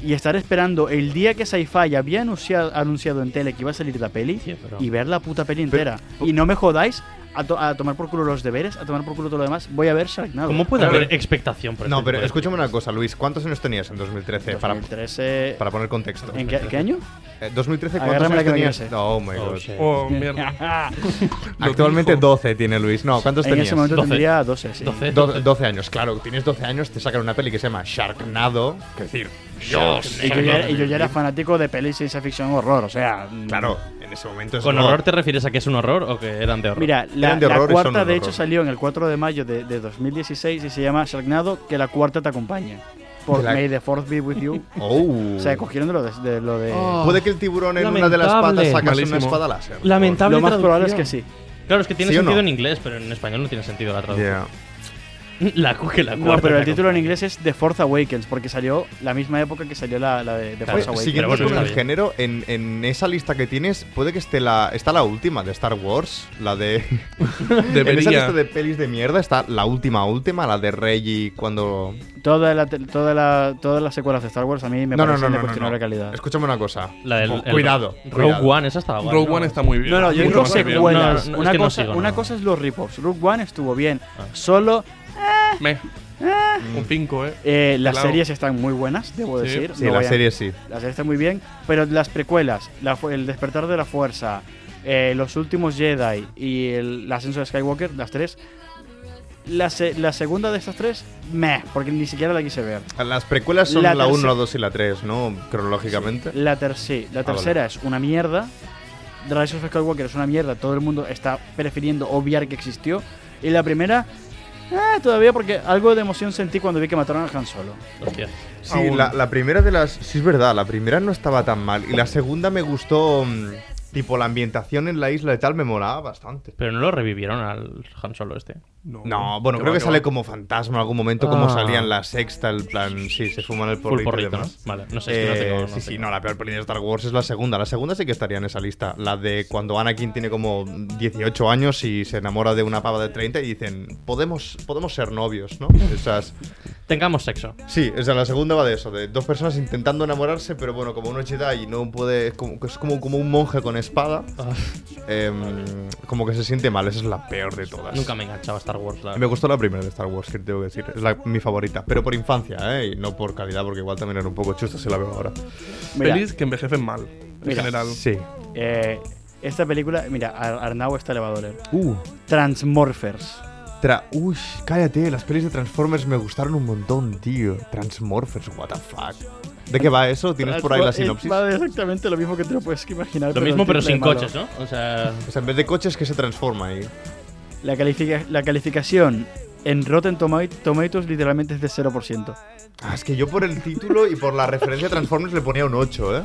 S4: y estar esperando el día que sci-fi había anunciado, anunciado en tele que iba a salir la peli
S6: Sí, pero-
S4: y ver la puta peli entera. y no me jodáis a, to- a tomar por culo los deberes, a tomar por culo todo lo demás. Voy a ver Sharknado.
S6: ¿Cómo puede
S7: A ver.
S6: haber expectación por
S5: No,
S6: este
S5: pero
S6: tipo de-
S5: escúchame una cosa, Luis. ¿Cuántos años tenías en 2013? Para,
S4: 2013...
S5: para poner contexto.
S4: ¿En qué, qué
S6: *laughs*
S4: año? *laughs*
S5: Eh, 2013, ¿cuántos
S4: Agárrame la
S5: años
S4: que me
S5: tenías?
S4: quiero sé.
S5: No, oh my
S6: Oh,
S5: god.
S6: shit.
S4: *laughs*
S7: Oh, mierda. Lo
S5: Actualmente
S7: dijo.
S5: 12 tiene Luis. No, ¿cuántos
S4: En
S5: tenías?
S4: ese momento
S6: 12.
S4: tendría 12, sí.
S6: 12.
S5: Do- 12, años, claro. Tienes 12 años, te sacan una peli que se llama Sharknado. Que decir, Dios.
S4: Y yo, ya, y yo ya era fanático de pelis ciencia ficción horror, o sea. mm,
S5: Claro, en ese momento es
S6: ¿Con
S5: como-
S6: horror te refieres a que es un horror o que eran de horror?
S4: Mira, la,
S5: Eran de
S4: la
S5: horror y son
S4: cuarta
S5: un
S4: de
S5: horror.
S4: hecho salió en el 4 de mayo de, de 2016 y se llama Sharknado, que la cuarta te acompaña. Por
S5: La-
S4: May the Fourth be with you.
S5: Oh.
S4: o sea, cogieron de lo de. de lo de-
S5: Puede que el tiburón en una de las patas
S6: Lamentable.
S5: sacase
S7: Malísimo.
S5: una espada láser.
S6: Lamentable
S4: lo más probable es que
S6: traducción.
S4: sí.
S6: Claro, es que tiene
S5: ¿Sí o no?
S6: sentido en inglés, pero en español no tiene sentido la
S5: Ya.
S6: traducción. *laughs* La cu- que la
S4: No,
S6: cuarta
S4: pero el
S6: te
S4: título en
S6: acompaña.
S4: inglés es The Fourth Awakens, porque salió la misma época que salió la, la de The
S6: Claro,
S4: Force Awakens.
S5: Siguiendo
S6: bueno,
S5: con
S6: está
S5: el
S6: bien.
S5: género, en, en esa lista que tienes, puede que esté la. Está la última de Star Wars, la de. *laughs* en esa
S7: Debería.
S5: lista de pelis de mierda está la última, última, la de Reggie cuando.
S4: Toda la, te- toda la- todas las secuelas de Star Wars a mí me
S5: no, no,
S4: parecen
S5: no,
S4: de
S5: no, no,
S4: cuestionable
S5: no.
S4: calidad.
S5: Escúchame una cosa.
S6: La del, el-
S5: cuidado.
S6: Rogue
S5: cuidado.
S6: One, esa estaba guay.
S7: Rogue One está muy bien.
S4: No, no, yo
S7: Mucho
S4: digo
S7: más que bien.
S6: buena.
S4: secuelas.
S6: No, no, es
S4: una
S6: que no
S4: cosa,
S6: sigo, no, Ah.
S4: una
S6: no.
S4: cosa es los rip-offs. Rogue One estuvo bien. Solo
S7: Meh. Un 5, eh.
S4: eh, las
S7: Claro.
S4: series están muy buenas, debo
S7: Sí.
S4: decir.
S5: Sí,
S4: No
S5: la
S4: vayan-
S5: serie sí.
S4: La serie está muy bien, pero las precuelas, la fu- el despertar de la fuerza, eh, los últimos Jedi y el, el ascenso de Skywalker, las tres. La, se- la segunda de estas tres, meh, porque ni siquiera la quise ver.
S5: Las precuelas son
S4: La
S5: la 1,
S4: tercera-
S5: la 2 y la 3, ¿no? Cronológicamente.
S4: La, ter- sí, la
S5: Ah,
S4: tercera es una mierda. The Rise of Skywalker es una mierda. Todo el mundo está prefiriendo obviar que existió. Y la primera, eh, todavía porque algo de emoción sentí cuando vi que mataron a Han Solo.
S6: Hostia.
S5: Sí, la, la primera de las. Sí, es verdad, la primera no estaba tan mal. Y la segunda me gustó. mm, tipo, la ambientación en la isla y tal me molaba bastante.
S6: Pero no lo revivieron al Han Solo este.
S5: No, bueno, creo que sale como fantasma en algún momento, como
S6: Ah.
S5: salía en la sexta, el plan. Sí, se fuman el porrito.
S6: Full
S5: y
S6: porrito, ¿no?
S5: demás.
S6: Vale, no sé, es que no
S5: Eh,
S6: tengo- no
S5: sí, sí,
S6: tengo.
S5: no, la peor peli de Star Wars es la segunda. La segunda sí que estaría en esa lista. La de cuando Anakin tiene como 18 años y se enamora de una pava de 30 y dicen, podemos, podemos ser novios, ¿no? Esas,
S6: Tengamos sexo.
S5: Sí, o sea, la segunda va de eso, de dos personas intentando enamorarse, pero bueno, como uno es Jedi y no puede. Es como, es como, como un monje con espada, em, como que se siente mal, esa es la peor de todas.
S6: Nunca me enganchaba Star Wars. la-
S5: Me gustó la primera de Star Wars, que tengo que decir, es la, mi favorita, pero por infancia, ¿eh? Y no por calidad, porque igual también era un poco chusta si la veo ahora.
S4: Mira,
S7: Pelis que envejecen mal, en
S4: Mira.
S7: general.
S5: Sí.
S4: eh, esta película, mira, a Arnau está elevador.
S5: Uh,
S4: Transmorphers.
S5: tra uy, cállate, las pelis de Transformers me gustaron un montón, tío. Transmorphers, what the fuck. ¿De qué va eso? ¿Tienes por ahí la sinopsis?
S4: Va exactamente lo mismo que te lo puedes imaginar.
S6: Lo mismo, pero
S4: triple
S6: sin
S4: de malo.
S6: coches, ¿no?
S4: *laughs*
S6: O sea.
S5: O sea, en vez de coches que se transforma ahí.
S4: La, califica- la calificación en Rotten Toma- Tomatoes literalmente es de 0%.
S5: Ah, es que yo por el título y por la referencia a Transformers le ponía un 8, ¿eh?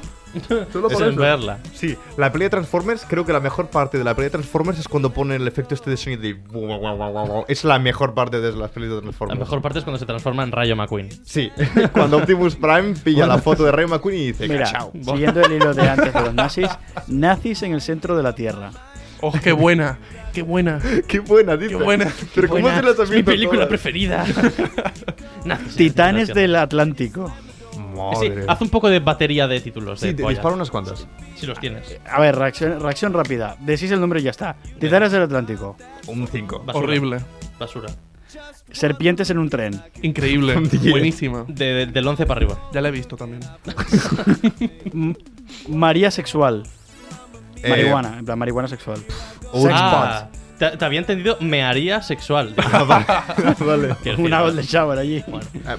S5: Solo por
S6: sin
S5: eso.
S6: verla.
S5: Sí, la pelea de Transformers, creo que la mejor parte de la pelea de Transformers es cuando pone el efecto este de sonido de... guau, guau, guau, guau, guau. Es la mejor parte de las pelis de
S6: La
S5: Transformers.
S6: mejor parte es cuando se transforma en Rayo McQueen.
S5: Sí, *laughs* cuando Optimus Prime pilla la foto de Ray McQueen y dice,
S4: Mira,
S5: "Cachao".
S4: *laughs*
S5: *laughs*
S4: siguiendo el hilo de antes de los nazis, nazis en el centro de la Tierra.
S7: ¡Oh, qué buena! ¡Qué buena!
S5: Qué buena, dice.
S7: ¡Qué buena!
S5: Pero ¿cómo
S6: Buena,
S5: se las
S6: es mi
S5: *laughs*
S6: película preferida. *laughs* Nazis,
S4: Titanes
S6: gracias.
S4: del Atlántico.
S6: Sí,
S5: Madre.
S6: haz un poco de batería de títulos.
S5: Sí,
S6: de
S5: te
S6: polla,
S5: disparo unas cuantas.
S6: Si los tienes.
S4: A ver, reacción, reacción rápida. Decís el nombre y ya está. Titanes del Atlántico.
S5: Un 5.
S6: Basura.
S7: Horrible.
S6: Basura.
S4: Serpientes en un tren.
S7: Increíble.
S5: *laughs*
S7: Buenísima.
S6: De- de- del 11 para arriba.
S7: Ya la he visto también.
S4: M- María sexual.
S5: Eh,
S4: Marihuana, en plan marihuana sexual.
S5: Old
S6: Ah, Te, te había entendido, me haría sexual. Digo,
S5: *laughs* Ah, vale. *laughs*
S6: quiero decir,
S4: Una de shower allí.
S5: Eh,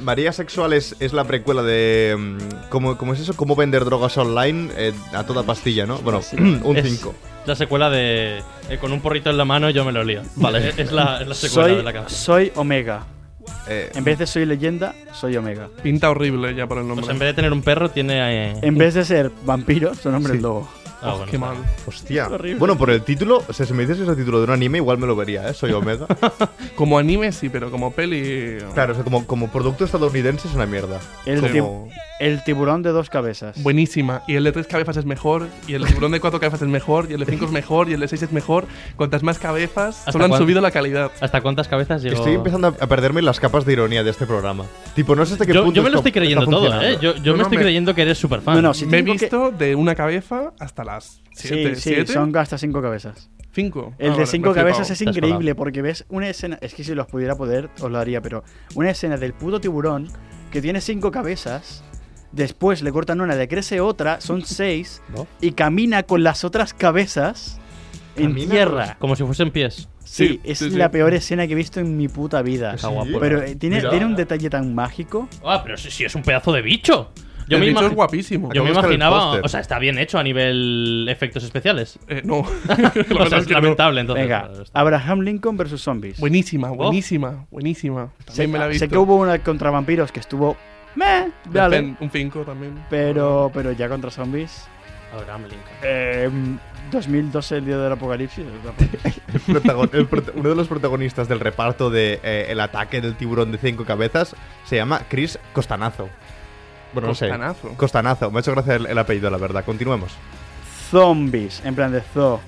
S5: María Sexual es, es la precuela de. mm, ¿cómo, cómo es eso? ¿Cómo vender drogas online eh, a toda pastilla, no? Bueno, *clears throat* un
S6: es
S5: 5.
S6: La secuela de. eh, con un porrito en la mano yo me lo lío. Vale. Es, es la, es la secuela
S4: soy,
S6: de la canción.
S4: soy Omega.
S5: Eh,
S4: En vez de soy leyenda, soy Omega.
S7: Pinta horrible ya por el nombre.
S6: Pues en vez de tener un perro, tiene. eh,
S4: En vez de ser vampiro, su nombre es
S5: Sí.
S4: lobo.
S6: ah,
S7: Qué
S6: bueno.
S7: mal.
S6: *laughs*
S5: Hostia.
S4: horrible.
S5: Bueno, por el título, o sea, si me dices que es el título de un anime, igual me lo vería, ¿eh? Soy
S6: *laughs*
S5: Omega.
S7: Como anime sí, pero como peli.
S5: claro, o sea, como, como producto estadounidense es una mierda.
S4: El,
S5: Como-
S4: tib- el tiburón de dos cabezas.
S7: Buenísima. Y el de tres cabezas es mejor. Y el tiburón de cuatro cabezas es mejor. Y el de cinco es mejor. Y el de seis es mejor. Cuantas más cabezas,
S6: ¿Hasta
S7: solo han
S6: cuándo? Ah,
S7: subido la calidad.
S6: ¿Hasta cuántas cabezas llegó?
S5: Estoy empezando a a perderme las capas de ironía de este programa. Tipo, no sé hasta qué
S6: Yo,
S5: punto.
S6: yo me lo
S5: esto
S6: estoy creyendo
S5: está
S6: todo, ¿eh?
S5: funcionando.
S6: Yo, yo
S7: No,
S6: me
S7: no,
S6: estoy
S7: me-
S6: creyendo que eres super fan.
S4: No, no, si
S7: Me he
S4: tengo que-
S7: visto de una cabeza hasta las
S4: Sí,
S7: siete.
S4: sí,
S7: ¿Siete?
S4: son hasta cinco cabezas.
S7: Cinco.
S4: El de
S7: Ah, vale,
S4: cinco
S7: me he
S4: cabezas
S7: flipado.
S4: es
S6: Te has
S4: increíble porque ves una escena, es que si los pudiera poder os lo haría, pero una escena del puto tiburón que tiene cinco cabezas, después le cortan una, le crece otra,
S7: *laughs*
S4: son seis,
S5: ¿No?
S4: y camina con las otras cabezas en
S5: Camina
S4: tierra.
S6: Como si fuesen pies.
S4: Sí,
S7: Sí,
S4: es
S7: sí, sí.
S4: la peor escena que he visto en mi puta vida.
S5: Sí.
S6: guapo.
S4: Pero eh, tiene,
S5: Mira.
S4: tiene un detalle tan mágico.
S6: Ah, pero si, si es un pedazo de bicho. Yo
S7: El
S6: me,
S7: bicho
S6: imagi-
S7: es guapísimo.
S6: yo me
S5: Acabo de buscar el
S6: imaginaba.
S5: póster.
S6: O sea, está bien hecho a nivel efectos especiales.
S7: Eh, no. *laughs*
S6: O sea,
S7: La verdad es
S6: es
S7: que no.
S6: lamentable, entonces.
S4: Venga,
S6: Claro, está-
S4: Abraham Lincoln versus zombies.
S6: Oh.
S7: Buenísima, buenísima, buenísima.
S4: Sé,
S7: También me la he visto.
S4: sé que hubo una contra vampiros que estuvo... Meh,
S7: De
S4: vale.
S7: Fen, Un 5 también.
S4: Pero, pero ya contra zombies...
S6: Abraham Lincoln.
S4: Eh, 2012, el día del apocalipsis.
S6: *laughs*
S5: Protagon- el prota- uno de los protagonistas del reparto de eh, El ataque del tiburón de cinco cabezas se llama Chris Costanazo. Bueno, no
S7: Costanazo.
S5: sé. Costanazo. Me ha hecho gracia el, el apellido, la verdad. Continuemos.
S4: Zombies, en plan de zoo.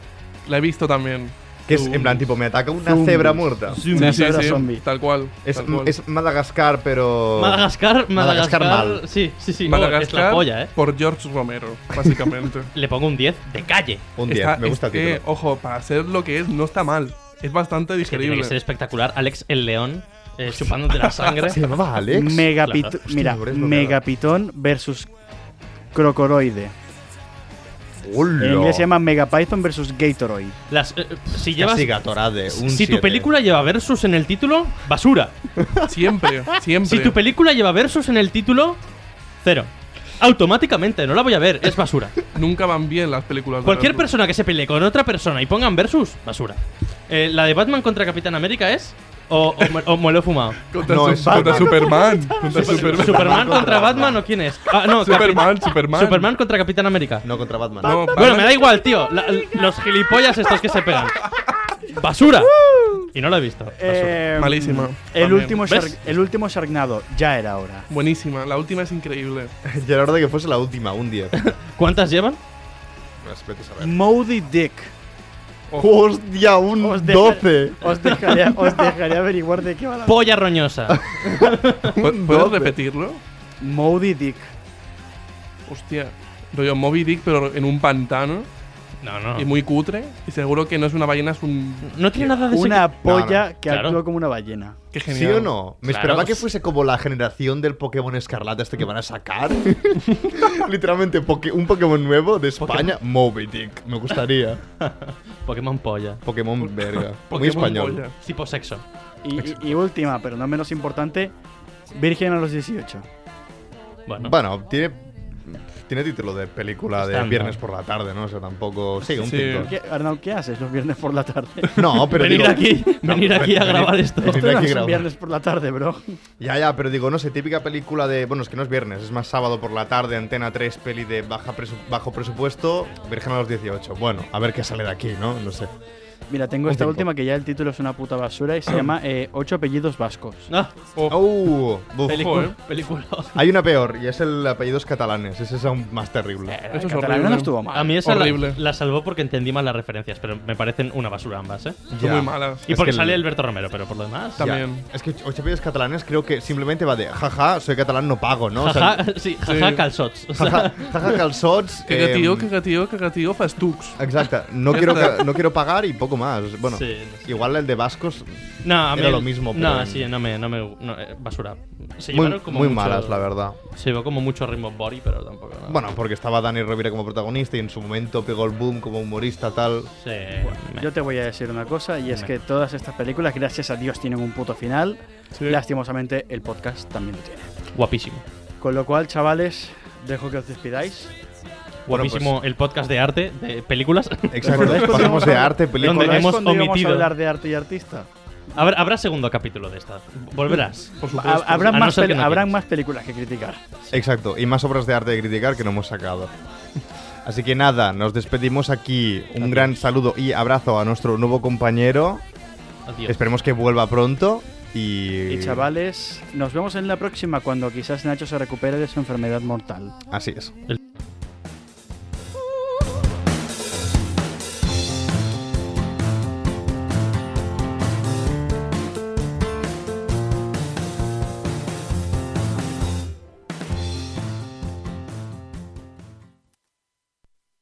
S7: La he visto también.
S5: Que es en plan, tipo, me ataca una
S4: Zombies.
S5: cebra muerta.
S4: Una cebra zombie.
S7: Tal cual.
S5: Es,
S7: tal cual.
S5: es Madagascar, pero.
S6: Madagascar, Madagascar.
S5: Madagascar mal.
S6: Sí, sí, sí. no,
S7: Madagascar
S6: es la polla, ¿eh?
S7: por George Romero,
S6: *laughs*
S7: básicamente.
S6: Le pongo un 10 de calle.
S5: Un 10,
S7: Está- este
S5: me gusta
S7: es
S5: el
S7: que,
S5: título.
S7: Ojo, para ser lo que es, no está mal. Es bastante
S6: Es que tiene
S7: digerible.
S6: que ser espectacular. Alex el León eh, chupándote
S5: *laughs*
S6: la sangre.
S5: ¿Se llamaba Alex?
S4: Megapit-
S6: Claro.
S4: Mira,
S5: Hostia, no
S4: Megapitón versus Crocoroide.
S5: Hola.
S4: En inglés se llama Megapython versus Gatoroid.
S6: Las, eh, si llevas.
S5: Casi Gatorade. Un
S6: Si tu
S5: siete.
S6: película lleva versus en el título, basura. *laughs*
S7: Siempre,
S6: Si
S7: siempre.
S6: tu película lleva versus en el título, cero. Automáticamente, no la voy a ver, es
S7: *laughs*
S6: basura.
S7: Nunca van bien las películas. de
S6: Cualquier
S7: Versus.
S6: persona que se pelee con otra persona y pongan versus, basura. Eh, la de Batman contra Capitán América es. O, o, me- o me lo he fumado.
S7: Contra,
S5: No,
S7: su-
S5: es
S7: contra
S5: Batman.
S7: Superman. Contra
S6: Superman,
S7: Superman.
S6: contra Batman o quién es? Ah, no, Capi-
S7: Superman, Superman.
S6: Superman contra Capitán América.
S5: No, contra Batman. *laughs*
S7: No,
S6: Bueno,
S7: Batman-
S6: me da igual, tío. La- los gilipollas estos que se pegan. ¡Basura! Y no lo he visto. Basura.
S4: Eh,
S7: Malísima.
S4: El
S7: También.
S4: último,
S6: ¿Ves?
S4: Shark- el último Sharknado. Ya era hora.
S7: Buenísima, la última
S5: *laughs*
S7: es increíble.
S5: Ya era hora de que fuese la última, un
S7: *laughs*
S5: 10.
S6: ¿Cuántas llevan?
S5: Pues, vete a saber.
S4: Moody Dick.
S5: ¡Hostia, un
S4: Os deja-
S5: 12!
S4: Os dejaré, os dejaré averiguar de qué va la.
S6: Polla roñosa.
S7: ¿Pu- ¿Puedo repetirlo?
S4: Moody Dick.
S7: Hostia. Rollo Moby Dick, pero en un pantano
S6: No, no.
S7: y muy cutre. Y seguro que no es una ballena, es un.
S6: No tiene nada de
S4: Una polla que
S6: Claro.
S4: actúa como una ballena.
S7: Qué
S5: ¿Sí
S7: genial.
S5: o no? Me
S6: Claro.
S5: esperaba que fuese como la generación del Pokémon Escarlata este que van
S4: *laughs*
S5: a sacar. Literalmente, poke- un Pokémon nuevo de España. Moby Dick, me gustaría.
S6: sexy- Pokémon polla.
S5: Pokémon verga. Muy
S7: Pokémon
S5: español.
S7: polla.
S6: Tipo sexo.
S4: Y, y- y última, pero no menos importante, Virgen a los 18.
S6: Bueno.
S5: Bueno, tiene... Tiene título de película de
S6: Estándar.
S5: viernes por la tarde, ¿no? O sea, tampoco... Sí, un
S7: Sí.
S5: cinco.
S4: ¿Qué, Arnau, ¿qué haces los viernes por la
S6: *laughs*
S4: tarde?
S5: No, pero
S6: venir
S5: digo-
S6: aquí, venir aquí a
S5: venid-
S6: grabar esto.
S5: venid-
S4: Esto
S5: Tendrá
S4: no
S5: que
S4: es un
S5: grabar.
S4: viernes por la tarde, bro.
S5: Ya, ya, pero digo, no sé, típica película de. Bueno, es que no es viernes, es más sábado por la tarde, Antena 3, peli de baja presu- bajo presupuesto, Virgen a los 18. Bueno, a ver qué sale de aquí, ¿no? No sé.
S4: Mira, tengo
S5: Un
S4: esta
S5: cinco.
S4: última que ya el título es una puta basura y se
S6: *clears throat*
S4: llama eh, Ocho apellidos vascos.
S6: Ah,
S5: ¡Oh! buf.
S6: película.
S7: eh.
S6: película.
S5: *laughs* Hay una peor, y es el apellidos catalanes, ese es aún más terrible.
S7: Eso es
S4: Catalán
S7: horrible.
S4: no estuvo mal.
S6: A mí esa la,
S7: Horrible.
S6: la salvó porque entendí mal las referencias, pero me parecen una basura ambas, ¿eh?
S7: Son
S5: Ya.
S7: muy malas.
S6: Y
S5: Es que
S6: porque
S5: el-
S6: sale Alberto Romero, pero por lo demás.
S5: Ya.
S7: También.
S5: Es que ocho apellidos catalanes creo que simplemente va de jaja, soy catalán, no pago, ¿no? O sea,
S6: Jaja, sí, jaja,
S7: Sí.
S6: calzots. O sea,
S5: jaja, jaja calzots.
S7: Que gatillo,
S5: em,
S7: que gatillo, que gatillo, fastux.
S5: Exacto, no
S7: Ya
S5: quiero,
S7: está.
S5: ca- no quiero pagar y poco poco más. Bueno,
S6: Sí, no sé.
S5: igual el de vascos
S6: No, a mí
S5: era
S6: el-
S5: lo mismo. pero
S6: No,
S5: en-
S6: sí, no me. No me no, eh, basura. Se
S5: muy,
S6: llevaron como
S5: muy
S6: mucho-
S5: malas, la verdad.
S6: Se llevó como mucho Rimbo Body, pero tampoco. no.
S5: Bueno, porque estaba Dani Rovira como protagonista y en su momento pegó el boom como humorista, tal.
S6: Sí. meh.
S4: Yo te voy a decir una cosa, y es
S6: Dime.
S4: que todas estas películas, gracias a Dios, tienen un puto final.
S7: Sí.
S4: Lastimosamente, el podcast también lo tiene.
S6: Guapísimo.
S4: Con lo cual, chavales, dejo que os despidáis.
S5: Bueno, pues Eh.
S6: Guapísimo el podcast de arte, de películas.
S5: Exacto,
S4: ¿Recordáis cuando
S5: pasamos de
S4: íbamos a-
S5: arte, películas.
S4: ¿Recordáis
S6: hemos
S4: cuando íbamos
S6: omitido.
S4: a hablar de arte y artista?
S6: *laughs* habrá, habrá segundo capítulo de esta. Volverás.
S7: Por
S4: Ha-
S7: supuesto.
S4: Habrán,
S6: A no
S4: más,
S6: ser que
S4: pel-
S6: no
S4: habrán
S6: quieras.
S4: más películas que criticar.
S5: Exacto, y más obras de arte de criticar que no hemos *laughs* sacado. Así que nada, nos despedimos aquí. Un gran saludo y abrazo a nuestro nuevo compañero.
S6: Adiós.
S5: Esperemos que vuelva pronto. Y,
S4: Y chavales, nos vemos en la próxima cuando quizás Nacho se recupere de su enfermedad mortal.
S5: Así es.